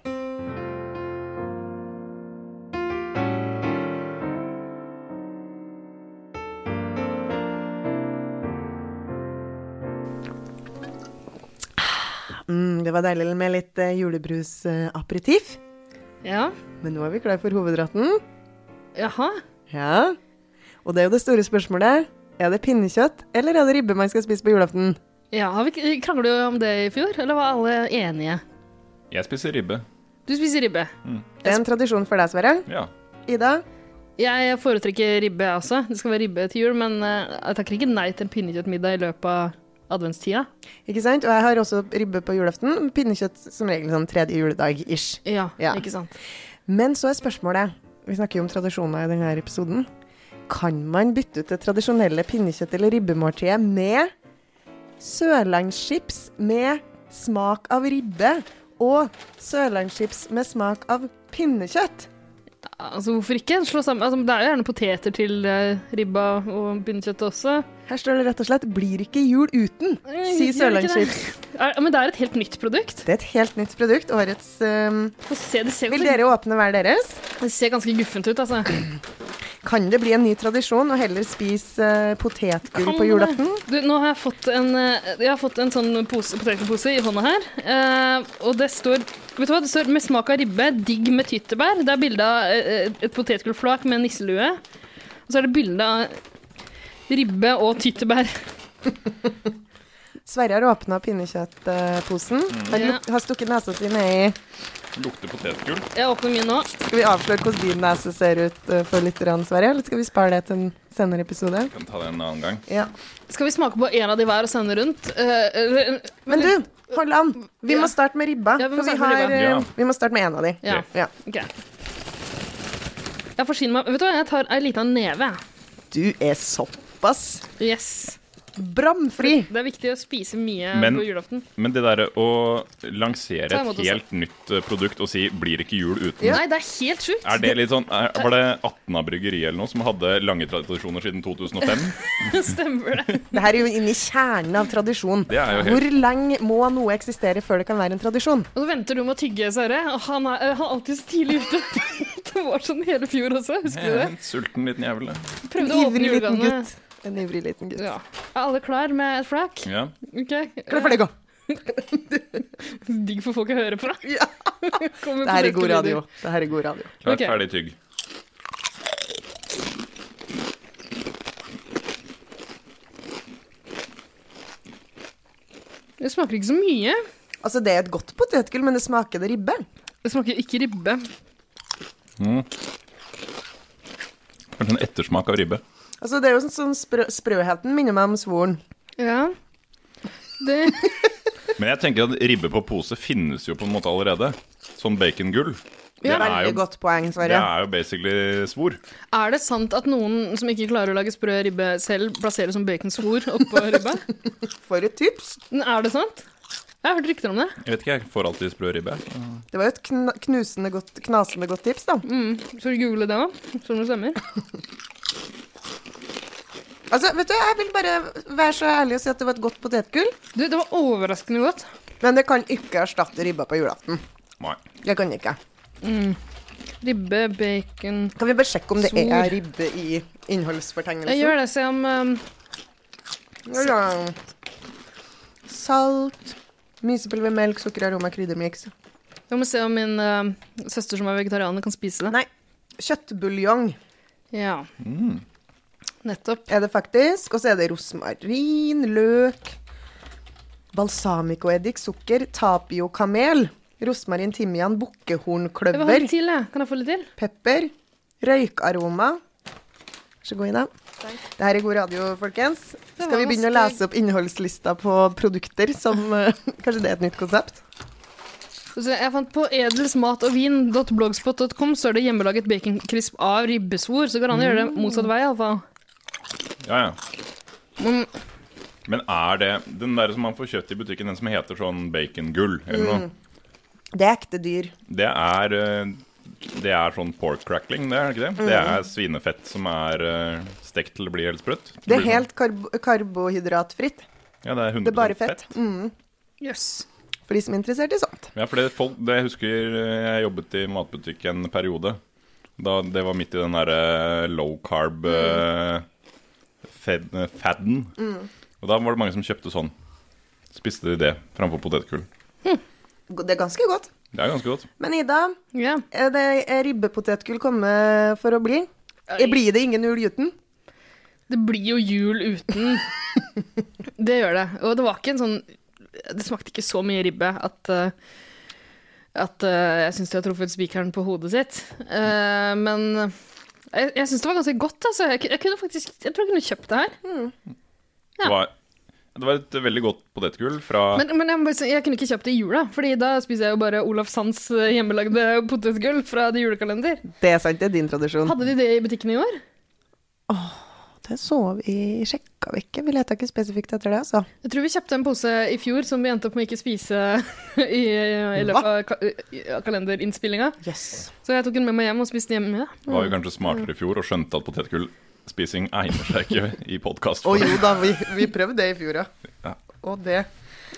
S1: Mm, det var deilig med litt eh, julebrusaperitiv.
S2: Ja,
S1: Men nå er vi klar for hovedretten.
S2: jaha.
S1: Ja. Og det er jo det store spørsmålet. Er det pinnekjøtt, eller er det ribbe man skal spise på julaften?
S2: Ja, har vi krangla jo om det i fjor, eller var alle enige?
S3: Jeg spiser ribbe.
S2: Du spiser ribbe.
S1: Det er en tradisjon for deg, Sverre.
S3: Ja.
S1: Ida?
S2: Jeg foretrekker ribbe, jeg også. Det skal være ribbe til jul, men eh, jeg takker ikke nei til en pinnekjøttmiddag i løpet av adventstida.
S1: Ikke sant? Og jeg har også ribbe på julaften. men Pinnekjøtt som regel sånn tredje juledag-ish.
S2: Ja,
S1: Ja.
S2: ikke sant.
S1: Men så er spørsmålet Vi snakker jo om tradisjoner i denne episoden. Kan man bytte ut det tradisjonelle pinnekjøtt- eller ribbemåltidet med sørlandschips med smak av ribbe og sørlandschips med smak av pinnekjøtt?
S2: Altså, hvorfor ikke? Slå sammen. Altså, det er jo gjerne poteter til eh, ribba og pinnekjøtt også.
S1: Her står det rett og slett 'Blir ikke jul uten', si
S2: Gjør det ikke det?
S1: sørlandschips.
S2: Er, men det er et helt nytt produkt.
S1: Det er et helt nytt produkt. Årets eh,
S2: Få se, det, ser
S1: Vil
S2: ganske,
S1: dere åpne hver deres?
S2: det ser ganske guffent ut, altså.
S1: kan det bli en ny tradisjon å heller spise eh, potetgull
S2: Kan
S1: på
S2: det?
S1: julaften?
S2: Du, nå har jeg fått en, eh, jeg har fått en sånn pose, potetgullpose i hånda her. eh, og det står Vet du hva, det står 'med smak av ribbe, digg med tyttebær'. Det er bilde av eh, et potetgullflak med en nisselue. Og så er det bilde av ribbe og tyttebær.
S1: Sverre har åpna pinnekjøttposen.
S3: Mm.
S1: Han
S2: Ja.
S1: luk har stukket nesa si nedi
S3: Lukter potetgull.
S2: Jeg åpner min nå.
S1: Skal vi avsløre hvordan din nese ser ut eh, for litt, rann, Sverre? Eller skal vi spare det til en senere episode?
S3: Kan ta det en annen gang.
S1: Ja.
S2: Skal vi smake på en av de hver og sende rundt? Eh, eller-
S1: Men du, hold an. Vi
S2: Ja.
S1: må starte med ribba.
S2: Ja, vi må
S1: for vi,
S2: starte med
S1: har,
S2: ribba.
S1: eh,
S3: Ja.
S1: vi må starte med én av de.
S2: Ja.
S1: Ja.
S2: Ok. Jeg forsyner meg Vet du hva, jeg tar ei lita neve.
S1: Du er såpass
S2: Yes.
S1: bramfri.
S2: Det er viktig å spise mye
S3: Men-
S2: på julaften.
S3: Men det derre å lansere
S2: Ta imot
S3: et
S2: og se.
S3: helt nytt eh, produkt og si 'blir ikke jul uten'
S1: Ja.
S2: Nei, det er helt sjukt.
S3: Er det litt sånn, er, Var det 18 av bryggeriet eller noe som hadde lange tradisjoner siden 2005?
S2: Stemmer det.
S1: Det her er jo inne i kjernen av tradisjon.
S3: Det er jo helt-
S1: Hvor lenge må noe eksistere før det kan være en tradisjon?
S2: Og så venter du med å tygge, Sverre. Og han er, han er alltid så tidlig ute. det var sånn hele fjor også, husker du det?
S3: En Eh, sulten liten jævel. det.
S1: En
S2: Prøvde å åpne
S1: ivrig liten
S2: julegavene.
S1: gutt. En ivrig liten gutt.
S2: Ja. Er alle klar med et flak?
S3: Ja.
S2: Ok. Eh,
S1: Klar, ferdig, gå.
S2: Digg for folk å høre på.
S1: Ja.
S2: Kommer
S1: Det her er god
S2: potetgulllyder.
S1: radio. Det her er god radio.
S3: Klar,
S2: Ok.
S3: ferdig, tygg.
S2: Det smaker ikke så mye.
S1: Altså, det er et godt potetgull, men det smaker det ribbe.
S2: Det smaker ikke ribbe.
S3: Kanskje en ettersmak av ribbe.
S1: Altså, det er jo sånn, sånn sprø sprøheten minner meg om svoren.
S2: Ja. Det
S3: Men jeg tenker at ribbe på pose finnes jo på en måte allerede. Sånn bacongull.
S2: Ja.
S3: det, er
S1: Veldig
S3: jo,
S1: godt poeng,
S3: det
S1: Sverre.
S3: er jo basically svor.
S2: Er det sant at noen som ikke klarer å lage sprø ribbe selv, plasserer som baconsvor oppå ribba?
S1: For et tips.
S2: Men Er det sant? Jeg har hørt rykter om det.
S3: Jeg vet ikke, jeg får alltid sprø ribbe. jeg.
S1: Det var jo et kna knusende godt, knasende godt tips, da.
S2: Skal du google det òg? Sånn det stemmer.
S1: Altså, vet du, jeg vil bare være så ærlig og si at det var et godt potetgull,
S2: Du, det var overraskende godt.
S1: men det kan ikke erstatte ribba på julaften.
S3: Nei.
S1: Det kan det ikke.
S2: Ribbe, bacon
S1: Kan vi bare sjekke om det
S2: Svor.
S1: er ribbe i
S2: Jeg
S1: innholdsfortegnelsen?
S2: gjør det, se om um,
S1: Ja. Salt, mysepulver, melk, sukker, aroma, kryddermiks.
S2: Jeg må se om min um, søster som er vegetarianer, kan spise det.
S1: Nei. Kjøttbuljong
S2: Ja. Nettopp.
S1: er det faktisk. Og så er det rosmarin, løk, balsamicoeddik, sukker, tapiokamel, rosmarin, timian,
S2: Jeg vil ha
S1: bukkehornkløver,
S2: litt til, jeg. Kan jeg få litt til?
S1: pepper, røykaroma. Vær så god, Ida. Det her er god radio, folkens.
S2: Det
S1: Skal
S2: var
S1: vi begynne å
S2: masse-
S1: lese opp innholdslista på produkter som eh, Kanskje det er et nytt konsept?
S2: Så Jeg fant på edelsmatovin.blogspot.com så er det hjemmelaget baconcrisp av ribbesvor. Så går det an å gjøre det motsatt vei, iallfall.
S3: Ja, ja.
S2: Men-
S3: Men er det den der som man får kjøtt i butikken, den som heter sånn bacongull eller noe,
S1: Det er ekte dyr.
S3: det er eh, det er sånn pork crackling, det er det ikke det?
S1: Mm.
S3: Det er svinefett som er eh, stekt til det blir helt sprøtt.
S1: Det er
S3: blir sånn-
S1: helt karb karbohydratfritt.
S3: Ja, det er 100
S1: Det er bare fett.
S3: fett.
S1: Mm,
S2: Yes.
S1: for de som er interessert i sånt.
S3: Ja, for det, folk, det jeg husker eh, jeg jobbet i matbutikk en periode. Da det var midt i den derre low carb
S1: Mm.
S3: eh, fed, fadden. Og da var det mange som kjøpte sånn. Spiste de det framfor potetgull.
S1: Det er ganske godt.
S3: Det er ganske godt.
S1: Men Ida,
S2: Ja.
S1: er Eh, det er ribbepotetgull kommet for å bli? Eh,
S2: Nei.
S1: Blir det ingen jul uten?
S2: Det blir jo jul uten. det gjør det. Og det var ikke en sånn Det smakte ikke så mye ribbe at eh, at eh, jeg syns de har truffet spikeren på hodet sitt. Eh, men jeg, jeg syns det var ganske godt. Altså. Jeg, ku- jeg kunne faktisk Jeg tror jeg kunne kjøpt det her. Ja.
S3: Det, var, det var et veldig godt potetgull fra
S2: Men, men jeg, må bare si- jeg kunne ikke kjøpt det i jula, Fordi da spiser jeg jo bare Olaf Sands eh, hjemmelagde potetgull fra de julekalender.
S1: Det er sant, det er din tradisjon.
S2: Hadde de det i butikken i år?
S1: Det så vi sjekka vi ikke. Vi leta ikke spesifikt etter det, altså.
S2: Jeg tror vi kjøpte en pose i fjor som vi endte opp med ikke spise i, i løpet av ka i- av kalenderinnspillinga.
S1: Yes.
S2: Så jeg tok den med meg hjem og spiste hjemme.
S3: Det var jo kanskje smartere i fjor og skjønte at potetgullspising egner seg ikke i podkast.
S1: Å jo da, vi, vi prøvde det i fjor,
S3: Ja.
S1: Og det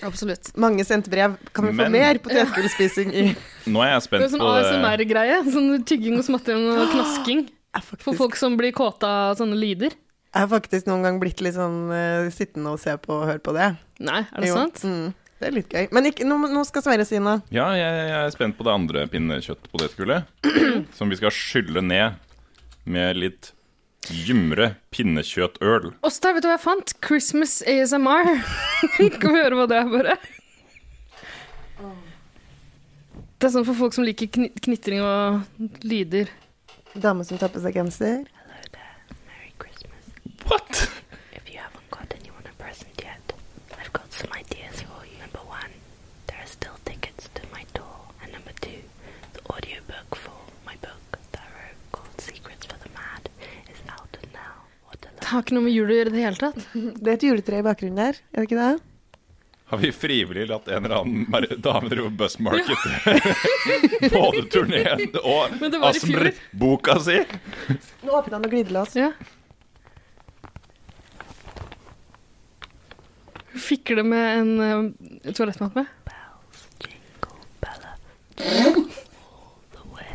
S2: Absolutt.
S1: Mange sendte brev. Kan vi få
S3: Men-
S1: mer potetgullspising i
S3: Nå er
S2: Det
S3: jeg
S2: er
S3: spent
S2: sånn
S3: på eh, det.
S2: ASMR-greie. Sånn tygging og smatting og knasking.
S1: er
S2: For
S1: faktisk,
S2: folk som blir kåta av sånne lyder?
S1: jeg er faktisk noen gang blitt litt sånn eh, sittende og se på og høre på det.
S2: Nei, er det
S1: Jo,
S2: sant?
S1: Mm, det er litt gøy. Men ikke, nå, nå skal Sverre si noe.
S3: Ja, jeg, jeg er spent på det andre pinnekjøttpotetgullet. som vi skal skylle ned med litt gymre pinnekjøttøl.
S2: Åsta, vet du hva jeg fant? Christmas ASMR. kan vi høre hva det er, bare? Det er sånn for folk som liker kni knitring og lyder.
S1: Dame som tar på seg genser.
S4: Merry Christmas.
S3: What?
S4: If you haven't got anyone a present yet, I've got some ideas for you. Number one, there are still tickets to my tour. And number two, the audiobook for my book that I wrote called Secrets for the Mad is out now. What a
S2: Det har ikke noe med jul å gjøre i det hele tatt.
S1: Det er et juletre i bakgrunnen der, er det ikke det?
S3: Har vi frivillig latt en eller annen mer- dame drive bus market? Både turneen og
S2: Men det var i fjor.
S3: Asmr-boka si?
S1: Nå åpna han og glidelås.
S2: Ja. Hun fikler med en eh, toalettmappe.
S4: bells jingle bella all the way.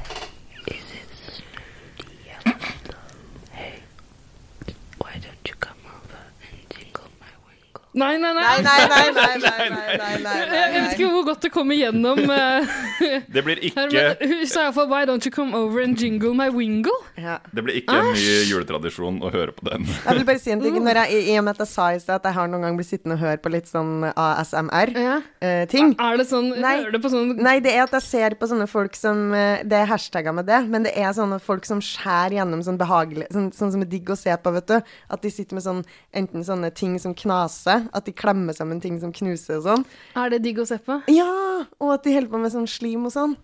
S4: Is it snowy Yellowstone? Hey, why don't you come over and jingle my winkle?
S2: Nei, nei, nei!
S1: Nei, nei, nei, nei, nei, nei, nei,
S2: Jeg
S1: nei,
S2: vet
S1: nei.
S2: ikke hvor godt det kommer gjennom. eh,
S3: Det blir
S2: her,
S3: ikke,
S2: men hun sa iallfall 'Why don't you come over and jingle my wingle?'
S1: Ja.
S3: det blir ikke en ny juletradisjon å høre på den.
S1: Jeg vil bare si en ting. Når jeg, I og med at jeg sa i sted at jeg har noen gang blitt sittende og høre på litt sånn ASMR-ting.
S2: Ja. Er det sånn
S1: Nei.
S2: Hører du på sånn
S1: eh, Nei, det er at jeg ser på sånne folk som eh, Det er hashtagga med det, men det er sånne folk som skjærer gjennom sånn behagelig sånn, sånn som er digg å se på, vet du. At de sitter med sånn enten sånne ting som knaser, at de klemmer sammen ting som knuser og sånn.
S2: Er det digg å se på?
S1: Ja! Og at de holder på med sånn slim og sånn.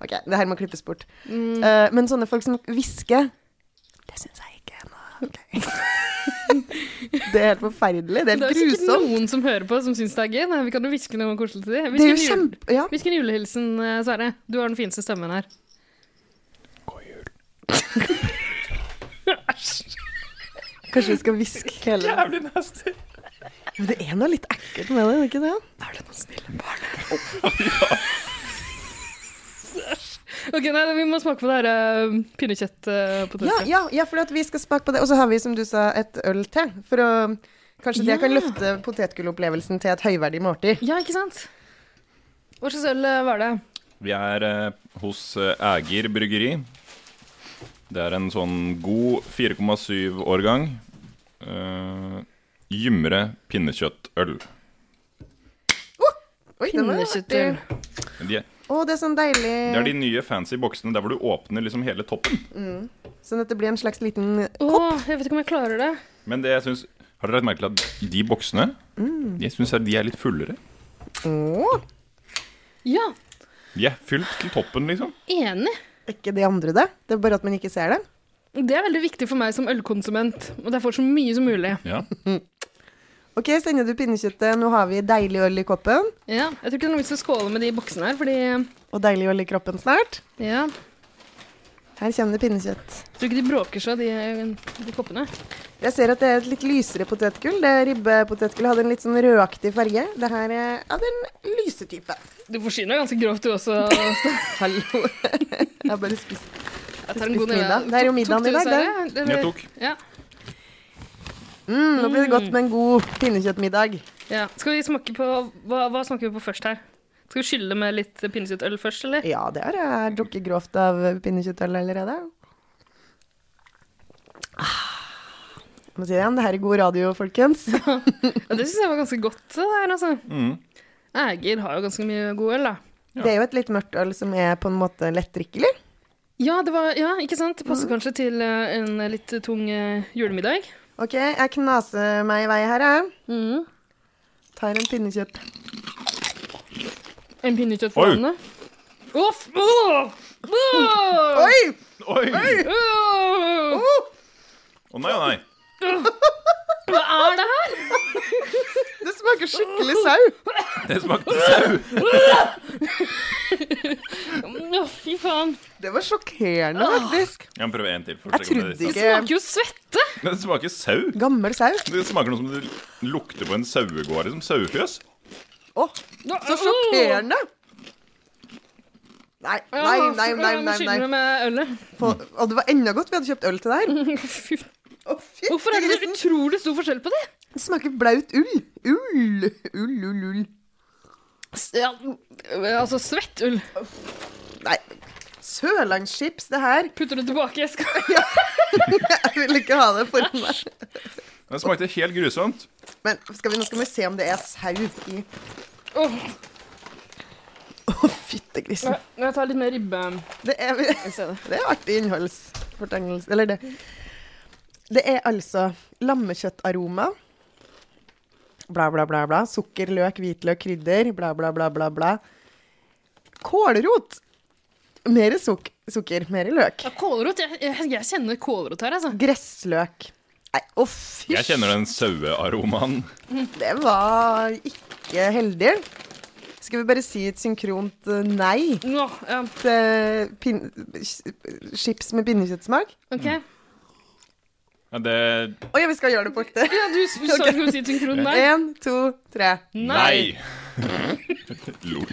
S1: OK, det her må klippes bort. Eh, men sånne folk som hvisker Det syns jeg ikke er noe ok. det er helt forferdelig. Det er
S2: Det er
S1: helt
S2: jo sikkert
S1: grusomt.
S2: noen som hører på som syns det er gøy. Nei, vi kan jo hviske noe koselig til dem.
S1: Det er jo kjempe... Ja.
S2: Hvilken julehilsen, eh, Sverre? Du har den fineste stemmen her.
S1: Kanskje vi skal hviske hele Jævlig nasty. Men det er noe litt ekkelt med det, er det ikke det?
S2: Er det noen snille barn her? Ok, nei, Vi må smake på det her uh, pinnekjøtt eh, på
S1: Ja,
S2: torsdag.
S1: ja, ja for at vi skal smake på det. Og så har vi, som du sa, et øl til. For å Kanskje det
S2: Ja.
S1: kan løfte potetgullopplevelsen til et høyverdig måltid.
S2: ja, ikke sant? Hva slags øl eh, var det?
S3: Vi er eh, hos eh, Ægir bryggeri. Det er en sånn god 4,7-årgang. Eh, gymre pinnekjøttøl.
S1: Oi, det var jo artig.
S2: Pinnekjøttøl.
S3: De, det
S1: Å, det er sånn deilig
S3: er de nye fancy boksene der hvor du åpner liksom hele toppen.
S1: Sånn at det blir en slags liten
S2: Å, jeg vet ikke om jeg klarer det.
S3: Men det jeg syns Har dere lagt merke til at de boksene
S1: Mm.
S3: Jeg syns de er litt fullere.
S1: Å,
S2: Ja,
S3: De er fylt til toppen, liksom.
S2: enig.
S1: er ikke de andre det? Det er bare at man ikke ser det.
S2: Det er veldig viktig for meg som ølkonsument, og det er for så mye som mulig.
S3: Ja.
S1: OK, sender du pinnekjøttet. Nå har vi deilig øl i koppen.
S2: Ja, jeg tror ikke det er noe vits i å skåle med de boksene her, fordi
S1: Og deilig øl i kroppen snart.
S2: ja,
S1: Her kommer det pinnekjøtt.
S2: jeg tror ikke de bråker seg, de, de koppene.
S1: Jeg ser at det er et litt lysere potetgull. Det Ribbepotetgull hadde en litt sånn rødaktig farge. Det her er av den lyse type.
S2: Du forsyner deg ganske grovt, du også.
S1: Hallo. Jeg har bare spist.
S2: Jeg tar en god
S1: Spiste middag.
S2: nivå.
S1: Det er jo middagen i dag,
S2: det.
S3: Jeg tok.
S2: Ja.
S1: Mm, nå blir det godt med en god pinnekjøttmiddag.
S2: ja. Skal vi smake på hva, hva smaker vi på først her? Skal vi skylle med litt pinnekjøttøl først, eller?
S1: Ja, det har jeg drukket grovt av pinnekjøttøl allerede. Ah. Jeg må si det igjen, det her er god radio, folkens.
S2: Ja, det syns jeg var ganske godt, det der, altså.
S3: Mm.
S2: Ægir har jo ganske mye god øl, da.
S3: Ja.
S1: Det er jo et litt mørkt øl som er på en måte lettdrikkelig.
S2: Ja, det var, ja, ikke sant? Det passer kanskje til eh, en litt tung eh, julemiddag.
S1: Ok, jeg knaser meg i vei her, jeg.
S2: Mm.
S1: Tar en pinnekjøtt.
S2: En pinnekjøtt
S3: Oi.
S2: for vannet. Uff! Åh! Åh!
S1: Oi!
S3: Oi! Å
S2: Åh!
S3: nei, å nei.
S2: Hva er det her?
S1: Det smaker skikkelig sau.
S3: Det smakte sau.
S2: Mm, Å, fy faen.
S1: Det var sjokkerende, faktisk.
S3: Jeg må prøve en til. for å
S1: Jeg
S3: sjekke om
S1: trodde
S2: Det
S1: ikke
S2: smaker jo svette.
S3: Men det smaker sau.
S1: Gammel sau.
S3: Det smaker noe som det lukter på en sauegård. liksom Sauefjøs.
S1: Å, så sjokkerende. Nei, nei, nei, nei, nei,
S2: Skyld
S1: nei.
S2: meg med ølet.
S1: På, og det var enda godt vi hadde kjøpt øl til deg.
S2: Fy.
S1: Å, fytti
S2: Hvorfor er det så
S1: grisen.
S2: utrolig stor forskjell på det?
S1: Det smaker blaut ull. Ull, ull, ull, ull.
S2: S- Ja, altså svett ull.
S1: Nei, sørlandschips, det her.
S2: Putter det tilbake i eska.
S1: Jeg vil ikke ha det foran meg.
S3: Det smakte helt grusomt.
S1: Men skal vi, nå skal vi se om det er sau i Å,
S2: Åh,
S1: fyttegrisen.
S2: jeg- jeg tar litt mer ribbe.
S1: Det er,
S2: Jeg ser det.
S1: det er artig innholdsfortegnelse. Eller det. Det er altså lammekjøttaroma. Bla, bla, bla, bla. Sukker, løk, hvitløk, krydder. Bla, bla, bla, bla, bla. Kålrot. Mer suk sukker, mer løk.
S2: Ja, Kålrot. Jeg, jeg, jeg kjenner kålrot her, altså.
S1: Gressløk. Nei, å fy
S3: Jeg kjenner den sauearomaen.
S1: Det var ikke heldig. Skal vi bare si et synkront eh, nei
S2: Nå, ja,
S1: til eh, pin chips med pinnekjøttsmak?
S2: ok.
S3: Ja, det
S1: Å ja, vi skal gjøre det på ekte.
S2: Ja, du, du sa du kunne si synkron der.
S1: Én, to, tre.
S3: Nei! Lol.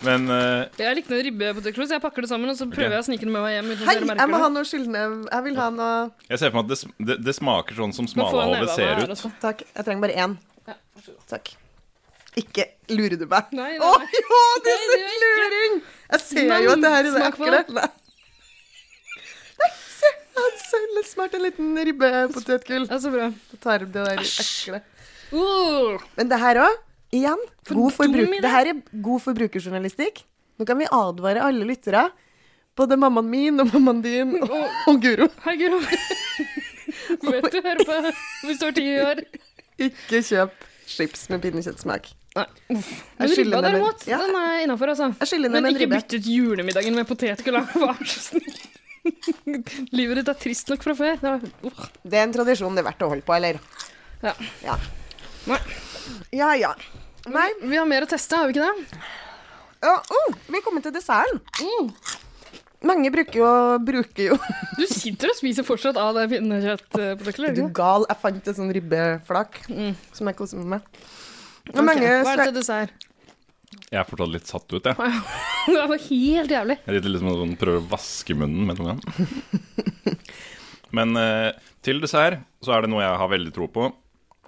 S3: Men eh,
S2: Jeg likte den ribbepotetgull, så jeg pakker det sammen og så prøver
S3: Ok.
S2: jeg å snike den med meg hjem. uten at
S1: Hei,
S2: dere
S1: jeg
S2: merker
S1: må
S2: det.
S1: ha noe skyldnev. Jeg vil ha noe
S3: jeg ser for meg at det, sm- det, det smaker sånn som
S2: Nå får jeg
S3: smalahovet
S2: neva av
S3: ser
S2: meg her,
S3: ut.
S2: altså.
S1: Takk. Jeg trenger bare én.
S2: Ja,
S1: Takk. Ikke lurer du meg?
S2: Nei, nei,
S1: Å
S2: nei.
S1: jo, du
S2: Nei, det gjør jeg ikke.
S1: luring! Jeg ser
S2: Nei,
S1: jo at det her er det
S2: smak på
S1: ekle. Nei. Nei, se! Han søler smart en liten ribbepotetgull.
S2: Ja, så bra.
S1: Tar opp det der ekle.
S2: Uh,
S1: Men det her òg, igjen,
S2: For
S1: god forbruk.
S2: dum idé.
S1: Det her er god forbrukerjournalistikk. Nå kan vi advare alle lyttere. Både mammaen min og mammaen din og, og Guro.
S2: hei, Guro. Vet du, hør på hvis du er ti år.
S1: Ikke kjøp chips med pinnekjøttsmak.
S2: Nei. Uff.
S1: Jeg
S2: Men
S1: skylder
S2: ribba
S1: ned en-
S2: derimot,
S1: Ja.
S2: den er innafor, altså.
S1: Jeg skylder ned
S2: Men
S1: en
S2: ikke
S1: ribbe.
S2: bytt ut julemiddagen med potetgull, da. vær så snill. Livet ditt er trist nok fra før. Det var, uh.
S1: Det er en tradisjon det er verdt å holde på, eller?
S2: Ja.
S1: Ja
S2: Nei.
S1: ja. ja. Nei.
S2: Vi har mer å teste, har vi ikke det?
S1: Å, oh, vi kommer til desserten.
S2: Mm.
S1: Mange bruker jo, bruker jo
S2: Du sitter og spiser fortsatt av det eh, pinnekjøttpotetgullet.
S1: Er du
S2: ikke sant?
S1: gal? Jeg fant et sånn ribbeflak
S2: Mm.
S1: som jeg koser meg med. Og
S2: Ok,
S1: mange
S2: Hva er
S1: sle-
S2: det til dessert?
S3: Jeg er fortsatt litt satt ut, jeg.
S2: Det var helt jævlig.
S3: Jeg sitter liksom og sånn prøver å vaske munnen mellom dem. Men eh, til dessert så er det noe jeg har veldig tro på.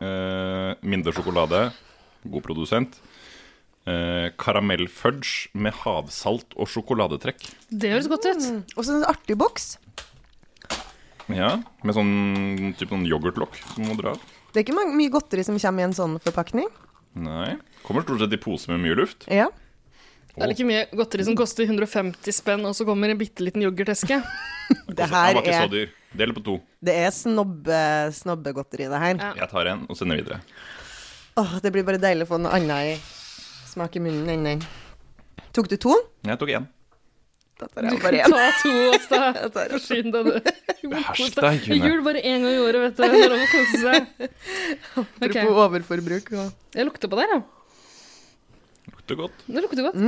S3: Eh, mindre sjokolade, god produsent. Eh, Karamellfudge med havsalt og sjokoladetrekk.
S2: Det høres godt ut.
S1: Og så en sånn artig boks.
S3: Ja, Med sånn typ sånn yoghurtlokk som man må dra av.
S1: Det er ikke mange, mye godteri som kommer i en sånn forpakning.
S3: Nei. Kommer stort sett i pose med mye luft.
S1: Ja.
S2: Det er like mye godteri som koster 150 spenn, og så kommer en bitte liten yoghurteske.
S1: Det
S3: Den
S1: her
S3: var ikke så
S1: er,
S3: dyr. Del på to.
S1: det er snobbe, snobbegodteri, det her.
S2: Ja.
S3: Jeg tar en og sender videre.
S1: Åh, det blir bare deilig å få noe annet i smak i munnen enn den. Tok du to?
S3: Jeg tok én.
S1: Da tar jeg bare én.
S2: Ta to, Åsta.
S1: Jeg tar-
S2: Forsyn deg, du.
S3: Hersk deg,
S2: I
S3: June.
S2: Jul bare én gang i året, vet du. Det er lov å kose seg. Ok,
S1: Apropos overforbruk. og-
S2: Jeg lukter på deg, ja. Mm.
S3: Lukter godt.
S2: Det lukter godt.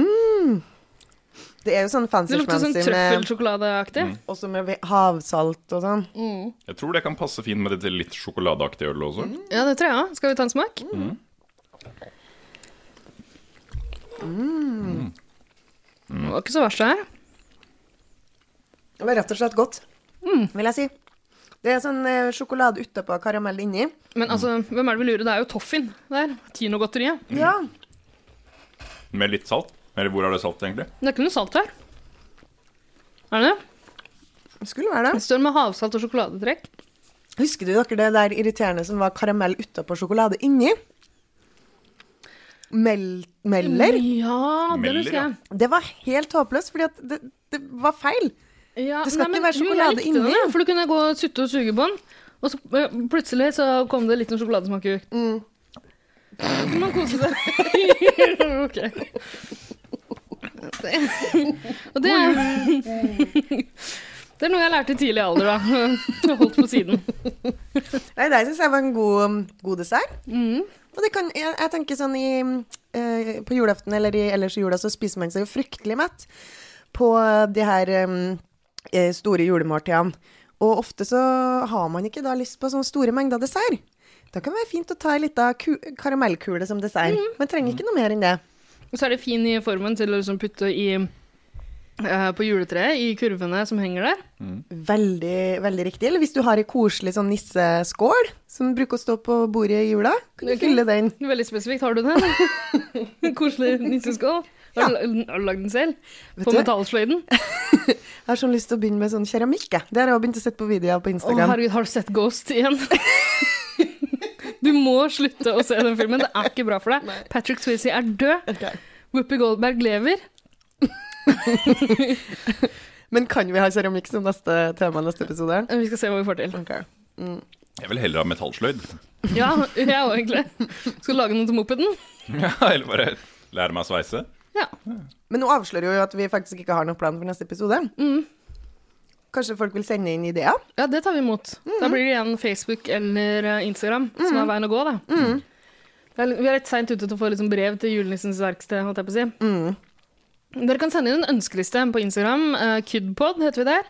S1: Det er jo sånn
S2: Det lukter sånn
S1: fancy-fancy med
S2: trøffelsjokoladeaktig.
S1: Også med ve- havsalt og sånn.
S2: Mm.
S3: Jeg tror det kan passe fint med dette litt sjokoladeaktige ølet også.
S1: Mm.
S2: Ja, det tror jeg òg. Skal vi ta en smak? Mm. Det var ikke så verst, det her.
S1: Det var rett og slett godt,
S2: Mm.
S1: vil jeg si. Det er sånn eh, sjokolade utapå og karamell inni.
S2: Men altså, hvem er det vi lurer? Det er jo Toffin der. Tino-godteriet.
S1: Ja.
S3: Med litt salt. Eller hvor er det salt, egentlig?
S2: Men Det er ikke noe salt her. Er det det?
S1: Det skulle være
S2: Det
S1: det.
S2: står med havsalt og sjokoladetrekk.
S1: Husker du dere det der irriterende som var karamell utapå og sjokolade inni? Mel meller?
S2: Ja, det
S3: Meller,
S2: husker jeg.
S1: Det var helt håpløst, fordi at det, det var feil.
S2: Ja,
S1: Det skal
S2: nei,
S1: ikke
S2: men-
S1: være
S2: jo, jeg
S1: sjokolade
S2: likte den,
S1: inni.
S2: ja, For du kunne gå og sutte og suge på den, og så eh, plutselig så kom det litt sånn sjokoladesmak ut. Mm. Man koser seg. ok. Det, og det er Det er noe jeg lærte i tidlig alder, da. Jeg Holdt på siden.
S1: Nei, det syns jeg var en god, god dessert. Og det kan, jeg, jeg tenker sånn i, eh, på julaften eller i, ellers i jula så spiser man seg jo fryktelig mett på de her eh, store julemåltidene. Og ofte så har man ikke da lyst på sånne store mengder dessert. Da kan det være fint å ta ei lita ku- karamellkule som dessert. Man trenger ikke noe mer enn det.
S2: Og så er det fin i formen til å liksom putte i eh, på juletreet, i kurvene som henger der.
S1: Veldig, veldig riktig. Eller hvis du har ei koselig sånn nisseskål som bruker å stå på bordet i jula, kan du
S2: Ok.
S1: fylle den.
S2: Veldig spesifikt. Har du den? En Koselig nisseskål. Har du la- har du lagd den selv?
S1: Vet
S2: på
S1: du-
S2: metallsløyden?
S1: Jeg har sånn lyst til å begynne med sånn keramikk. jeg. Det har jeg også begynt å sette på videoer på
S2: Å,
S1: Instagram.
S2: herregud, har du sett Ghost igjen? Du må slutte å se den filmen. Det er ikke bra for deg. Patrick Swayze er død.
S1: Ok.
S2: Whoopi Goldberg lever.
S1: Men kan vi ha keramikk som neste tema i neste episode?
S2: Vi skal se hva vi får til.
S1: Ok.
S3: Jeg vil heller ha metallsløyd.
S2: Ja, jeg òg, egentlig. Skal lage noe til mopeden.
S3: Ja, eller bare lære meg å sveise.
S2: Ja.
S1: Men nå avslører jo at vi faktisk ikke har noen plan for neste episode. Kanskje folk vil sende inn ideer?
S2: ja, det tar vi imot. Da blir det igjen Facebook eller eh, Instagram som er veien å gå, da. Det er litt- Vi er litt seint ute til å få liksom brev til julenissens verksted, holdt jeg på å si. Dere kan sende inn en ønskeliste på Instagram. eh, Kydpod heter vi der.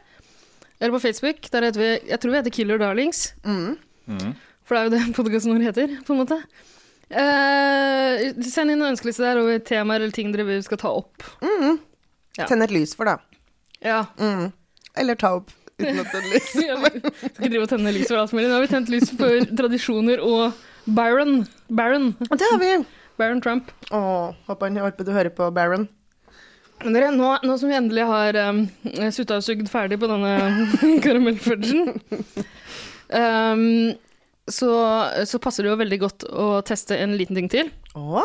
S2: Eller på Facebook. Der heter vi, jeg tror vi heter Killer Darlings.
S1: Mm.
S2: For det er jo det podkasten vår heter, på en måte. Eh, send inn en ønskeliste der over temaer eller ting dere vil skal ta opp. Ja.
S1: Mm. Tenn et lys for, da.
S2: Ja.
S1: Mm. Eller ta opp uten å tenne lys.
S2: Ja, vi skal ikke drive og tenne lys for alt mulig. Nå har vi tent lys for tradisjoner og Baron. Baron.
S1: Og det har vi.
S2: Baron Trump.
S1: Å, håper han orket å høre på Baron.
S2: Men dere, nå, nå som vi endelig har um, sutta og sugd ferdig på denne karamellfudgen, um, så, så passer det jo veldig godt å teste en liten ting til.
S1: Å,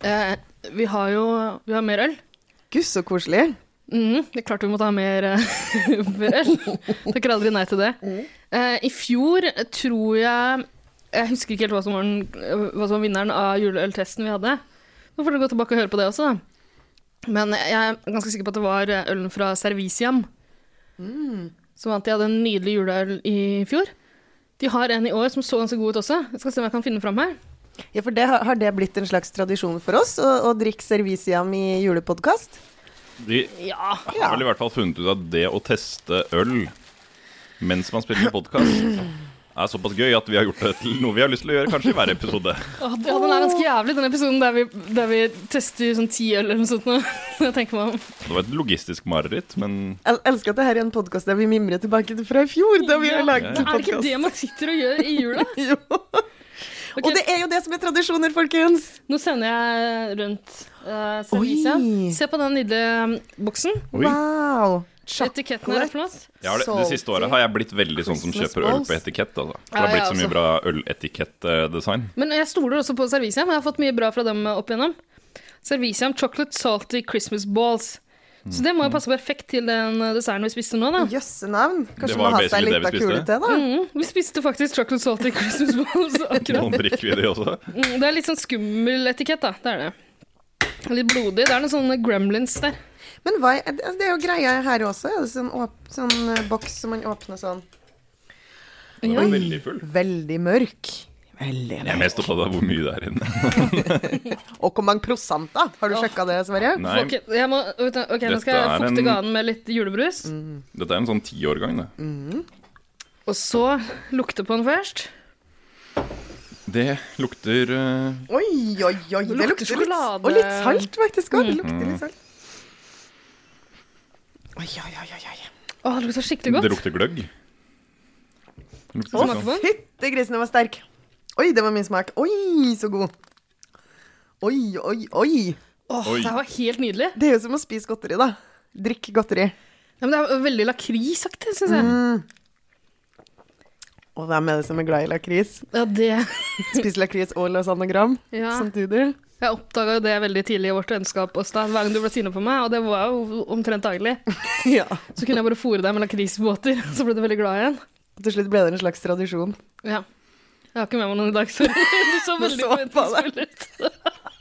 S2: Eh, vi har jo vi har mer øl.
S1: gud, så koselig.
S2: Mhm, det er klart vi måtte ha mer eh, mer øl. Takker aldri nei til det. Eh, I fjor tror jeg Jeg husker ikke helt hva som var, den, eh, hva som var vinneren av juleøltesten vi hadde. Nå får dere gå tilbake og høre på det også, da. Men jeg er ganske sikker på at det var eh, ølen fra Serviciam. Som vant. De hadde en nydelig juleøl i fjor. De har en i år som så ganske god ut også. Jeg skal se om jeg kan finne fram her.
S1: Ja, for det har, har det blitt en slags tradisjon for oss å, å drikke serviciam i julepodkast?
S3: De
S2: Ja,
S1: Ja.
S3: har vel i hvert fall funnet ut at det å teste øl mens man spiller podkast, er såpass gøy at vi har gjort det til noe vi har lyst til å gjøre kanskje i hver episode.
S2: Åh, det- Ja, den er ganske jævlig, den episoden der vi, der vi tester sånn ti øl eller noe sånt. nå. Jeg tenker meg om.
S3: Det var et logistisk mareritt, men
S1: Jeg elsker at det her er en podkast der vi mimrer tilbake til fra i fjor, da vi
S2: Ja.
S1: har laget en
S2: Men er det ikke
S1: podkast.
S2: det man sitter og gjør i jula?
S1: Jo.
S2: Ok,
S1: Og det er jo det som er tradisjoner, folkens!
S2: Nå sender jeg rundt uh, serviset.
S1: Oi.
S2: Se på den nydelige um, boksen.
S3: oi.
S1: Wow!
S2: Etiketten er flott.
S3: Jeg har det, det siste året har jeg blitt veldig sånn som
S1: Christmas
S3: kjøper øl på
S1: balls.
S3: etikett. Altså.
S2: Ja,
S3: For det har
S2: jeg
S3: blitt så
S2: også.
S3: mye bra øletikettdesign.
S2: Men jeg stoler også på serviset, men jeg har fått mye bra fra dem opp igjennom. Servisium chocolate salty Christmas balls. Så det må
S1: Mm.
S2: jo passe perfekt til den uh, desserten vi spiste nå, da.
S1: Jøsse navn.
S3: Det
S1: Kanskje
S3: var
S1: man har seg
S3: basically
S1: en
S3: det vi
S1: liten kule
S3: spiste.
S1: til, da.
S2: Mm, vi spiste faktisk chocolate salty Christmas balls
S3: Nå
S2: akkurat.
S3: drikker vi det også.
S2: Mm, Det er litt sånn skummel etikett, da. Det er det. Litt blodig. Det er noen sånne gremlins der.
S1: Men hva, er- altså, det er jo greia her også. Er det sånn, åp, sånn eh, boks som man åpner sånn.
S3: Den var veldig full.
S1: Veldig mørk. Veldig
S3: Jeg er mest opptatt av hvor mye det er inne.
S1: Og hvor mange prosenter? Har du sjekka det, Sverre?
S3: Nei,
S2: Ok, jeg må, vet du, ok, nå skal
S3: Dette
S2: jeg
S3: er
S2: fukte
S3: en-
S2: ganen med litt julebrus.
S1: Mm.
S3: dette er en sånn tiårgang,
S2: Mm.
S3: det.
S2: Og så lukte på den først.
S3: Det lukter eh,
S1: Oi, oi, oi. Det
S2: lukter
S1: lukter litt,
S2: sjokolade. Mm.
S1: og litt salt, faktisk. også. Det lukter
S3: Mm.
S1: litt salt. Oi, oi, oi, oi, oi.
S2: Å, det lukta skikkelig
S3: Det
S2: godt.
S3: lukter gløgg. Det lukter
S2: Å,
S3: litt
S2: smaker
S3: sånn.
S2: på den.
S1: Fytti grisen, den var sterk. Oi, det var min smak. Oi, så god. Oi, oi, oi.
S2: Åh,
S3: Oi.
S2: det her var helt nydelig.
S1: Det er jo som å spise godteri, da. Drikke godteri.
S2: Ja, men det er veldig lakrisaktig, syns jeg.
S1: Mm. Og hvem er det som er glad i lakris?
S2: Ja, det
S1: Spise lakris og lasagne-gram
S2: ja.
S1: samtidig.
S2: Jeg oppdaga jo det veldig tidlig i vårt vennskap oss da, hver gang du ble sinna på meg, og det var jo omtrent daglig.
S1: Ja.
S2: Så kunne jeg bare fôre deg med lakrisbåter, så ble du veldig glad igjen.
S1: Og til slutt ble det en slags tradisjon.
S2: Ja. Jeg har ikke med meg noen i dag, sorry. Du så
S1: Du
S2: veldig
S1: så på
S2: forventningsfull ut.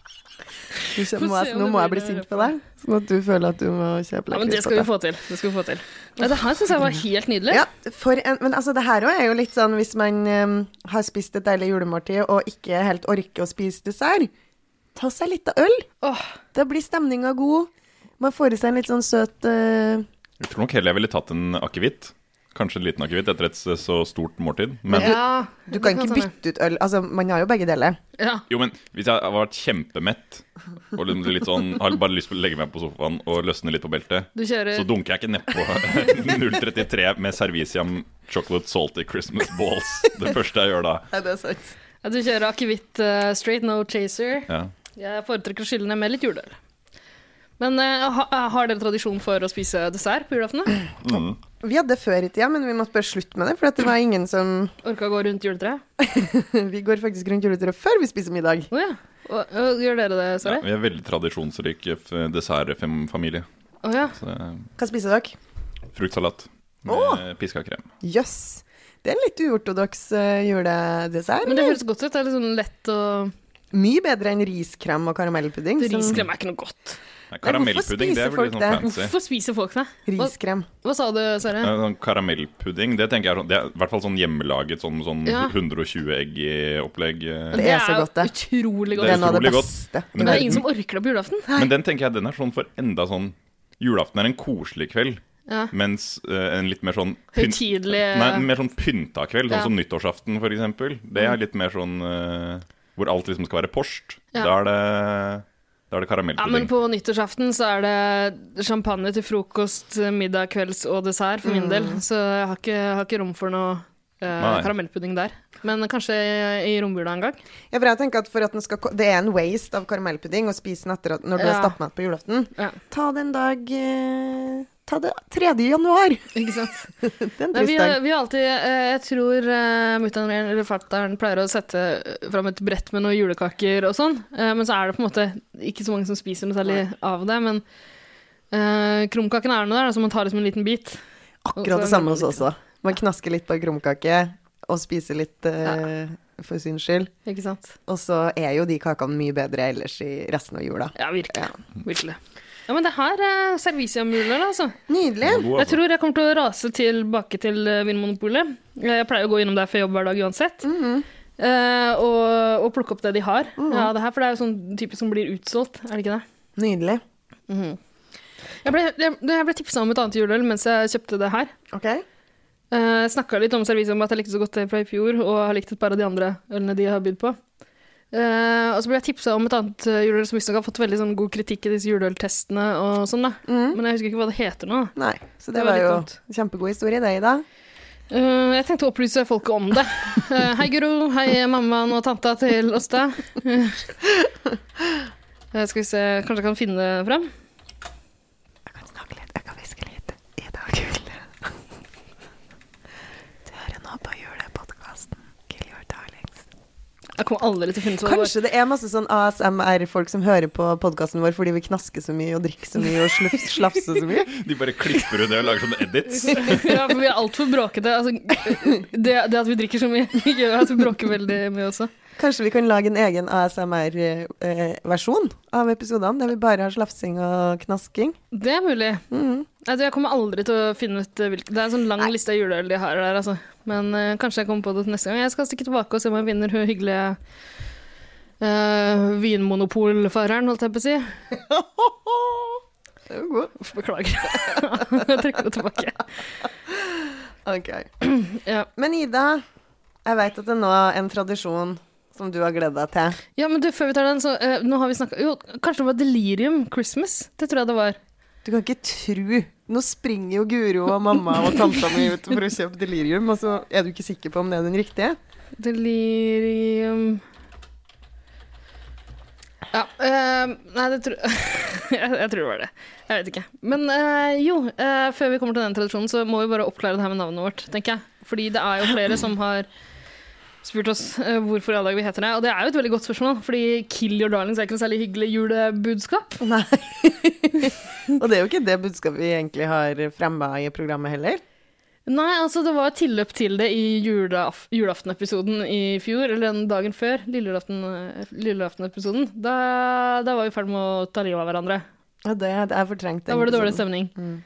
S1: Du kjem- Må
S2: Få se
S1: jeg,
S2: om
S1: nå
S2: det
S1: må jeg
S2: blir
S1: bli
S2: det i
S1: sint
S2: hvert
S1: på
S2: fall.
S1: deg, sånn at du føler at du må kjøpe
S2: Ja, men det
S1: lakris.
S2: skal vi få til. Det skal vi få til. Ja, det her syns jeg var helt nydelig.
S1: Ja, for en, men altså det her òg er jo litt sånn hvis man em, har spist et deilig julemåltid og ikke helt orker å spise dessert, ta seg litt av øl.
S2: Åh,
S1: Da blir stemninga god. Man får i seg en litt sånn søt eh,
S3: Jeg tror nok heller jeg ville tatt en akevitt. Kanskje en liten akevitt etter et så stort måltid. Men
S2: ja,
S1: Du kan ikke
S2: stemme.
S1: bytte ut øl. Altså, man har jo begge deler.
S2: Ja.
S3: Jo, men hvis jeg har vært kjempemett og liksom litt sånn, har bare lyst til å legge meg på sofaen og løsne litt på beltet,
S2: Du kjører
S3: så dunker jeg ikke nedpå 033 med servisiam chocolate salty Christmas balls. Det første jeg gjør da.
S1: Er det sant?
S2: Ja, du kjører akevitt eh, straight no chaser.
S3: Ja.
S2: Jeg foretrekker å skylle ned med litt juleøl. Men eh, ha, har dere tradisjon for å spise dessert på julaftenen?
S3: Mm.
S1: Vi hadde det før i tida, men vi måtte bare slutte med det, for at det var ingen som
S2: Orka å gå rundt juletreet?
S1: Vi går faktisk rundt juletreet før vi spiser middag.
S2: Å ja. Og, og, gjør dere det,
S3: Ja,
S2: Sverre?
S3: vi er veldig tradisjonsrik f- dessertfamilie.
S2: Å ja.
S3: Så, eh,
S1: Hva spiser dere?
S3: Fruktsalat med piska krem.
S1: Jøss. Det er en litt uortodoks eh, juledessert.
S2: Men det høres godt ut. Det er litt sånn lett og
S1: Mye bedre enn riskrem og karamellpudding. som-
S2: Riskrem er ikke noe godt.
S1: Nei,
S3: Nei,
S1: hvorfor
S3: Karamellpudding, det
S1: spiser
S3: er vel
S1: folk
S3: litt
S1: det?
S3: sånn fancy.
S2: Hvorfor spiser folk det? Hva,
S1: Riskrem.
S2: hva sa du, Sverre?
S3: Ja, Sånn karamellpudding, det tenker jeg er sånn, det er i hvert fall sånn hjemmelaget, sånn, sånn
S2: Ja.
S3: 120 egg i opplegg. eh.
S1: Det er så godt, det.
S2: Utrolig
S3: Det
S2: godt.
S1: Det er noe av det
S3: utrolig godt.
S1: beste.
S2: Men det er
S3: Men-
S2: ingen som orker det på julaften.
S3: Men den tenker jeg, den er sånn for enda sånn Julaften er en koselig kveld,
S2: Ja.
S3: mens eh, en litt mer sånn pynt-
S2: Høytidelig
S3: Nei, en mer sånn pynta kveld, sånn
S2: Ja. Mm.
S3: som nyttårsaften for eksempel. Det er litt mer sånn eh, hvor alt liksom skal være porst.
S2: Ja.
S3: Da er det, da er det
S2: Ja, men
S3: karamellpudding.
S2: på nyttårsaften så er det champagne til frokost, middag, kvelds og dessert for min del. Så jeg har ikke, jeg har ikke rom for noe eh,
S3: Nei.
S2: karamellpudding der. Men kanskje i, i romjula en gang.
S1: Ja, for jeg tenker at for at den skal, ko- Det er en waste av karamellpudding å spise den etter at, når du
S2: Ja.
S1: har stappmett på julaften.
S2: Ja.
S1: Ta det en dag eh, Ta det 3. januar.
S2: Ikke sant?
S1: Det er en
S2: Nei,
S1: trist
S2: vi,
S1: dag.
S2: vi har alltid eh, Jeg tror uh, mutter'n eller fatter'n pleier å sette fram et brett med noen julekaker og sånn, eh, men så er det på en måte ikke så mange som spiser noe særlig av det. Men uh, krumkaken er nå der, da, så man tar liksom en liten bit.
S1: Akkurat det samme hos oss også. Man knasker litt på en krumkake og spiser litt eh, for syns skyld.
S2: Ikke sant?
S1: Og så er jo de kakene mye bedre ellers i resten av jula.
S2: Ja, virkelig. Virkelig. Ja, men det her er servisiamuler, altså.
S1: Nydelig.
S3: God,
S2: Jeg
S3: altså.
S2: tror jeg kommer til å rase tilbake til eh, Vinmonopolet. Eh, Jeg pleier å gå innom der før jobb hver dag uansett. Eh, og, og plukke opp det de har. Ja, det her, for det er jo sånn typisk som blir utsolgt, er det ikke det?
S1: Nydelig.
S2: Jeg ble, jeg, jeg ble tipsa om et annet juleøl mens jeg kjøpte det her.
S1: OK.
S2: Eh, Jeg Snakka litt om serviset om at jeg likte så godt det fra i fjor, og har likt et par av de andre ølene de har bydd på. Eh, og så ble jeg tipsa om et annet eh, juleøl som visstnok har fått veldig sånn, god kritikk i disse juleøltestene og sånn, da. Men jeg husker ikke hva det heter nå. da.
S1: Nei, så det,
S2: Det var
S1: var,
S2: litt
S1: jo
S2: dumt.
S1: en kjempegod historie, det, Ida.
S2: Eh, jeg tenkte å opplyse folket om det. Eh, hei, Guro. Hei, mammaen og tanta til oss, da. Eh, skal vi se, kanskje jeg kan finne det fram?
S4: Jeg kan snakke litt, jeg kan hviske litt. Ida og Gule. Du hører nå på julepodkasten Kill Your Darlings.
S2: Jeg kommer aldri til å finne ut hva det var.
S1: Kanskje det er masse sånn ASMR-folk som hører på podkasten vår fordi vi knasker så mye og drikker så mye og slufs, slafser så mye.
S3: De bare klipper ut det og lager sånne edits.
S2: ja, for vi er altfor bråkete. Altså, det, det at vi drikker så mye, gjør at vi bråker veldig mye også.
S1: Kanskje vi kan lage en egen ASMR-versjon eh, av episodene der vi bare har slafsing og knasking.
S2: Det er mulig.
S1: Mhm.
S2: Nei, du, Jeg kommer aldri til å finne ut eh, hvilke Det er en sånn lang liste av juleøl de har der, altså. Men eh, kanskje jeg kommer på det til neste gang. Jeg skal stikke tilbake og se om jeg finner hun hyggelige uh, vinmonopolfareren, holdt jeg på å si.
S1: Det er jo god.
S2: Uff, Beklager. jeg trekker det tilbake.
S1: Ok.
S2: Ja.
S1: Men Ida, jeg vet at det nå er en tradisjon som du har gledet deg til.
S2: ja, men du, før vi tar den, så eh, Nå har vi snakka Jo, kanskje det var Delirium Christmas? Det tror jeg det var.
S1: Du kan ikke tru. Nå springer jo Guro og mamma og tanta mi ut for å kjøpe delirium, og så er du ikke sikker på om det er den riktige.
S2: Delirium um, Ja eh, Nei, det tror jeg, jeg tror det var det. Jeg vet ikke. Men eh, jo, eh, før vi kommer til den tradisjonen, så må vi bare oppklare det her med navnet vårt, tenker jeg. Fordi det er jo flere som har spurt oss eh, hvorfor i alle dager vi heter det. Og det er jo et veldig godt spørsmål, fordi 'Kill your darlings' er ikke noe særlig hyggelig julebudskap.
S1: Nei. og det er jo ikke det budskapet vi egentlig har fremma i programmet heller.
S2: Nei, altså det var et tilløp til det i julaf julaftenepisoden i fjor, eller den dagen før, lilleulaften- lilleaftenepisoden. Da, da var vi i ferd med å ta livet av hverandre.
S1: Og det, det er fortrengt.
S2: Da
S1: den
S2: var det dårlig
S1: episoden.
S2: stemning.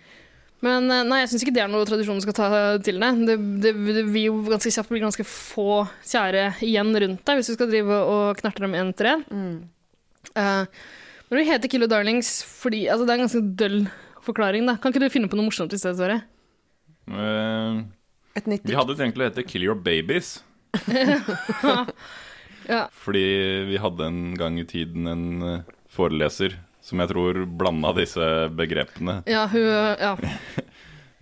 S2: Men eh, nei, jeg syns ikke det er noe tradisjonen skal ta til deg. Det, det, det vil jo ganske kjapt bli ganske få kjære igjen rundt deg hvis du skal drive og knerte dem en etter en.
S1: Mm.
S2: Eh, men vi heter Kill your Darlings fordi altså, det er en ganske døll forklaring. Da. Kan ikke du finne på noe morsomt i stedet, Sverre?
S3: Eh,
S1: Et nytt
S3: Vi
S1: dikt.
S3: hadde tenkt å hete Kill Your Babies.
S2: Ja.
S3: Fordi vi hadde en gang i tiden en eh, foreleser som jeg tror blanda disse begrepene.
S2: Ja, hun ja.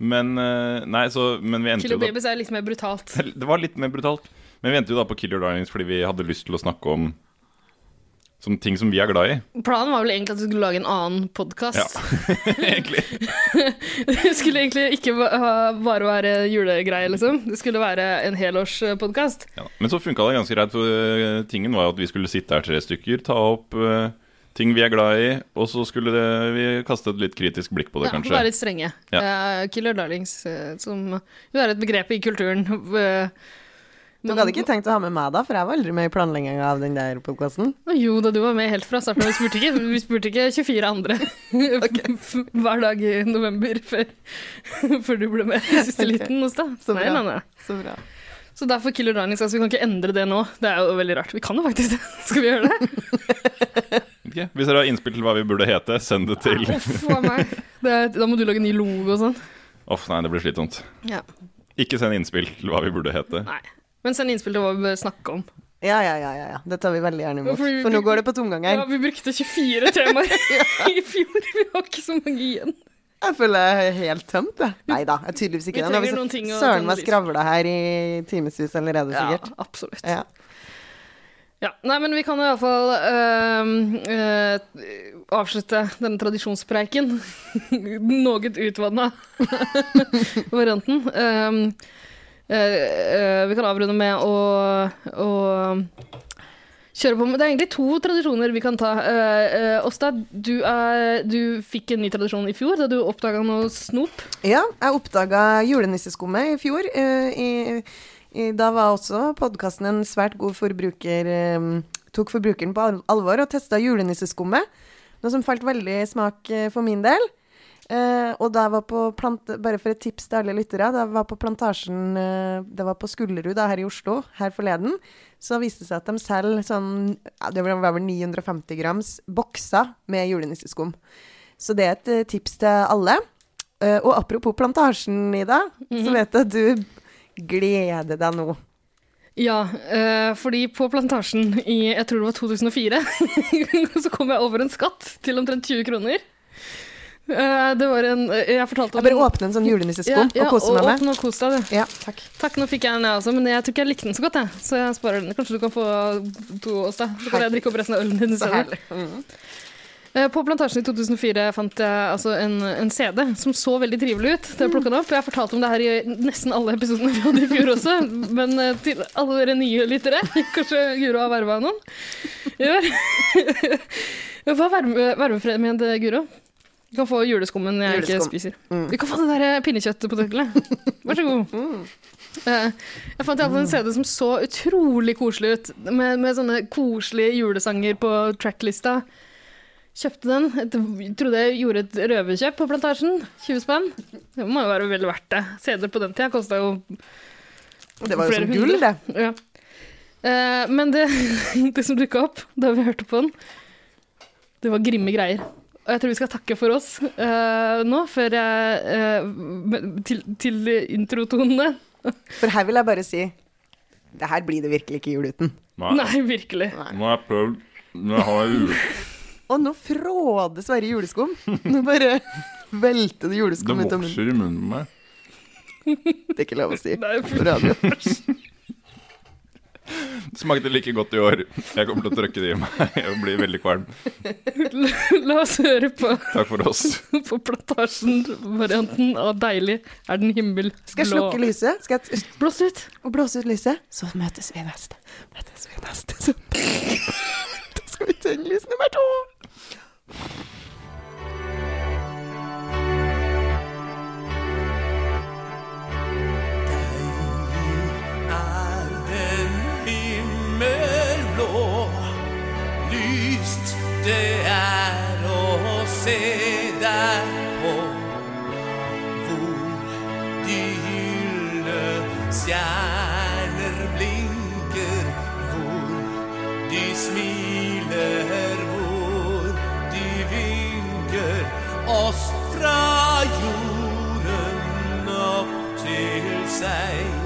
S3: Men, eh, nei, så, men vi endte
S2: Killer
S3: jo da
S2: Babies er litt mer brutalt.
S3: Det var litt mer brutalt. Men vi endte jo da på Kill Your Darlings fordi vi hadde lyst til å snakke om som ting som vi er glad i.
S2: Planen var vel egentlig at vi skulle lage en annen podkast.
S3: Ja, egentlig.
S2: Det skulle egentlig ikke va- ha- bare være julegreie, liksom. Det skulle være en helårspodkast.
S3: Ja, da. men så funka det ganske greit, for eh, tingen var jo at vi skulle sitte her tre stykker, ta opp eh, ting vi er glad i, og så skulle det, vi kaste et litt kritisk blikk på det,
S2: Ja,
S3: kanskje.
S2: være litt strenge.
S3: Ja.
S2: Eh, Killer darlings, eh, som jo er et begrep i kulturen. eh,
S1: Dere hadde ikke tenkt å ha med meg da, for jeg var aldri med i planlegginga av den der podkasten.
S2: Å, Jo da, du var med helt fra starten. Vi spurte ikke, vi spurte ikke 24 andre hver dag i november før, før du ble med i siste
S1: Ok.
S2: liten hos deg.
S1: Så
S2: Nei,
S1: bra.
S2: nei, nei.
S1: Så bra.
S2: Så derfor Killer Darlings. Altså, vi kan ikke endre det nå. Det er jo veldig rart. Vi kan jo faktisk det. Skal vi gjøre det?
S3: Ok, Hvis dere har innspill til hva vi burde hete, send det til Uff,
S2: Uff a meg. Det er, da må du lage ny logo og sånn.
S3: nei, det blir slitsomt.
S2: Ja.
S3: Ikke send innspill til hva vi burde hete.
S2: Nei. Men send innspill til hva vi bør snakke om.
S1: Ja, ja, ja, ja, ja. Det tar vi veldig gjerne imot.
S2: Ja, fordi vi-
S1: For nå går det på tomgang
S2: Ja,
S1: her.
S2: vi brukte 24 temaer i fjor. Vi har ikke så mange igjen.
S1: Jeg føler jeg er helt tømt, jeg. Nei da, jeg er tydeligvis
S2: Vi
S1: ikke det. Nå har
S2: trenger noen ting
S1: vi
S2: å
S1: så søren
S2: tenne
S1: meg
S2: lys.
S1: skravla her i timevis allerede, sikkert.
S2: absolutt.
S1: Ja.
S2: Ja, nei, men vi kan jo iallfall uh, eh, avslutte denne tradisjonspreiken. Noe utvanna varianten. Ehm, eh, eh, vi kan avrunde med å, å kjøre på med Det er egentlig to tradisjoner vi kan ta. Eh, eh, Åsta, du, er, du fikk en ny tradisjon i fjor da du oppdaga noe snop.
S1: Ja, jeg oppdaga julenisseskummet i fjor. eh, i, i, da var også podkasten en svært god forbruker eh, Tok forbrukeren på al- alvor og testa julenisseskummet. Noe som falt veldig i smak eh, for min del. Eh, og da jeg var på plant... Bare for et tips til alle lyttere. Da jeg var på Plantasjen eh, Det var på Skullerud da, her i Oslo her forleden, så viste det seg at de selger sånn ja, Det var vel 950 grams bokser med julenisseskum. Så det er et eh, tips til alle. Eh, og apropos plantasjen, Ida,
S2: Mhm.
S1: så vet jeg at du gleder deg nå.
S2: Ja, eh, fordi på plantasjen i jeg tror det var 2004, så kom jeg over en skatt til omtrent 20 kroner. Eh, det var en eh, Jeg fortalte
S1: Jeg
S2: om
S1: bare åpner en sånn julenisseskum
S2: ja,
S1: og koser meg med.
S2: åpne og kos deg, du.
S1: Ja, takk.
S2: Takk, nå fikk jeg den, jeg også, men jeg tror ikke jeg likte den så godt, jeg. Så jeg sparer den. Kanskje du kan få to hos deg? Så kan jeg drikke opp resten av ølen din i
S1: Så
S2: stedet.
S1: herlig. Mhm.
S2: Eh, På Plantasjen i 2004 fant jeg altså en, en CD som så veldig trivelig ut. Det jeg plukket den opp. Jeg har fortalt om det her i nesten alle episodene vi hadde i fjor også. Men eh, til alle dere nye lyttere, kanskje Guro har verva noen i år. Hva er verve, vervefremmed, Guro? Du kan få juleskummen jeg
S1: Juleskum.
S2: ikke spiser.
S1: Mm.
S2: Du kan få det der eh, pinnekjøttpotetelet. Vær så god. Eh, Jeg fant
S1: Mm.
S2: iallfall en CD som så utrolig koselig ut, med, med sånne koselige julesanger på tracklista. Kjøpte den. Et, trodde jeg gjorde et røverkjøp på Plantasjen. 20 spenn. Det må jo være vel verdt det. CD-er på den tida kosta jo
S1: Det var jo
S2: flere
S1: som gull,
S2: hundre.
S1: det.
S2: ja. Eh, Men det, det som dukka opp da vi hørte på den, det var grimme greier. Og jeg tror vi skal takke for oss eh, nå, før jeg eh, med- Til, til introtonene.
S1: For her vil jeg bare si det her blir det virkelig ikke jul uten.
S2: Nei, virkelig.
S3: Nå har jeg prøvd Nå har jeg u-
S1: Og nå fråder Sverre juleskum. Nå bare velter det
S3: Det
S1: juleskum ut av munnen.
S3: vokser i munnen på meg.
S1: Det er ikke lov å si.
S2: Nei,
S1: På radio.
S3: Smakte like godt i år. Jeg kommer til å trykke det i meg og bli veldig kvalm.
S2: La oss høre på,
S3: Takk for oss.
S2: på Plantasjen-varianten av 'Deilig er den himmel blå'.
S1: Skal jeg slukke lyset? Skal jeg
S2: Blås ut!
S1: og blåse ut lyset? Så møtes vi neste. Møtes vi neste. Så. Da skal vi tenne lys nummer to.
S5: er den himmelblå. Lyst det er å se deg på. Hvor de gyldne stjerner blinker. Hvor de smiler, hvor de vinker oss fra jorden opp til seg.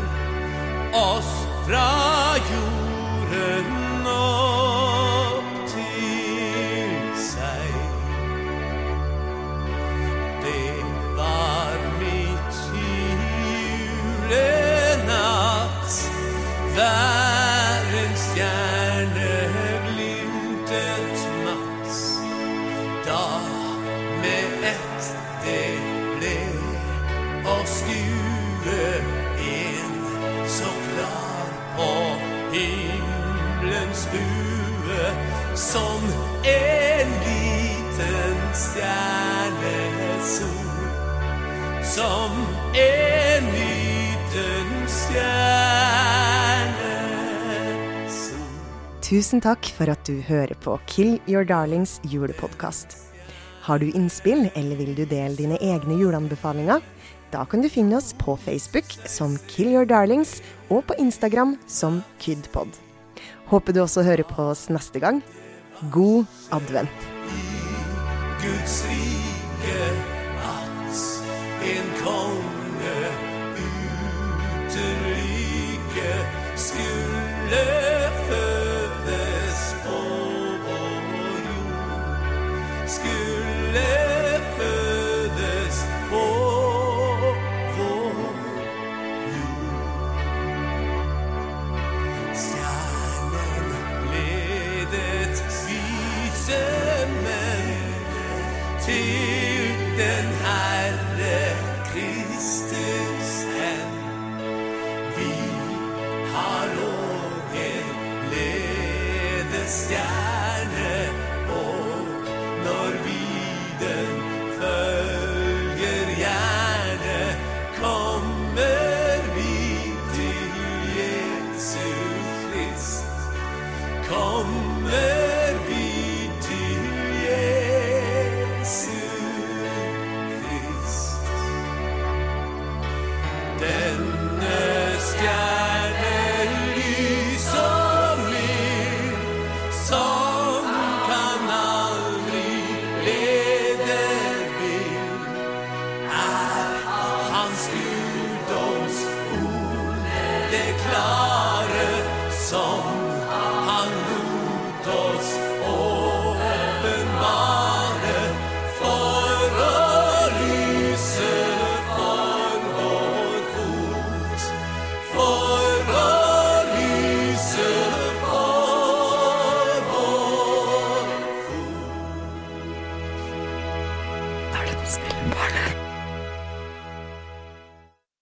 S5: oss fra jorden opp til seg. Det var mitt julenatt. Hver en stjerne glimtet matt da med ett det ble å skue en så klar på himmelens bue som en liten stjernesol. Som en liten stjernesol.
S1: Tusen takk for at du hører på Kill Your Darlings julepodkast. Har du innspill, eller vil du dele dine egne juleanbefalinger? Da kan du finne oss på Facebook som Kill Your Darlings, og på Instagram som Kydpod. Håper du også hører på oss neste gang. God advent.
S5: Guds rike at en konge uten like skulle fødes på vår jord. Skulle fødes på vår jord. Stjernen ledet vise menn til den Herre Kristus hen. Vi har òg en ledestjerne, og når vi den følger gjerne, kommer vi til Jesu Krist. Kommer vi til Jesu Krist. Denne stjerne lys og mild, som kan aldri lede vill, er hans guddoms ord, det klare som han lot oss åpenbare for å lyse for vår fot, for å lyse for vår fot.
S4: Barndomsspillet, barndomsspillet.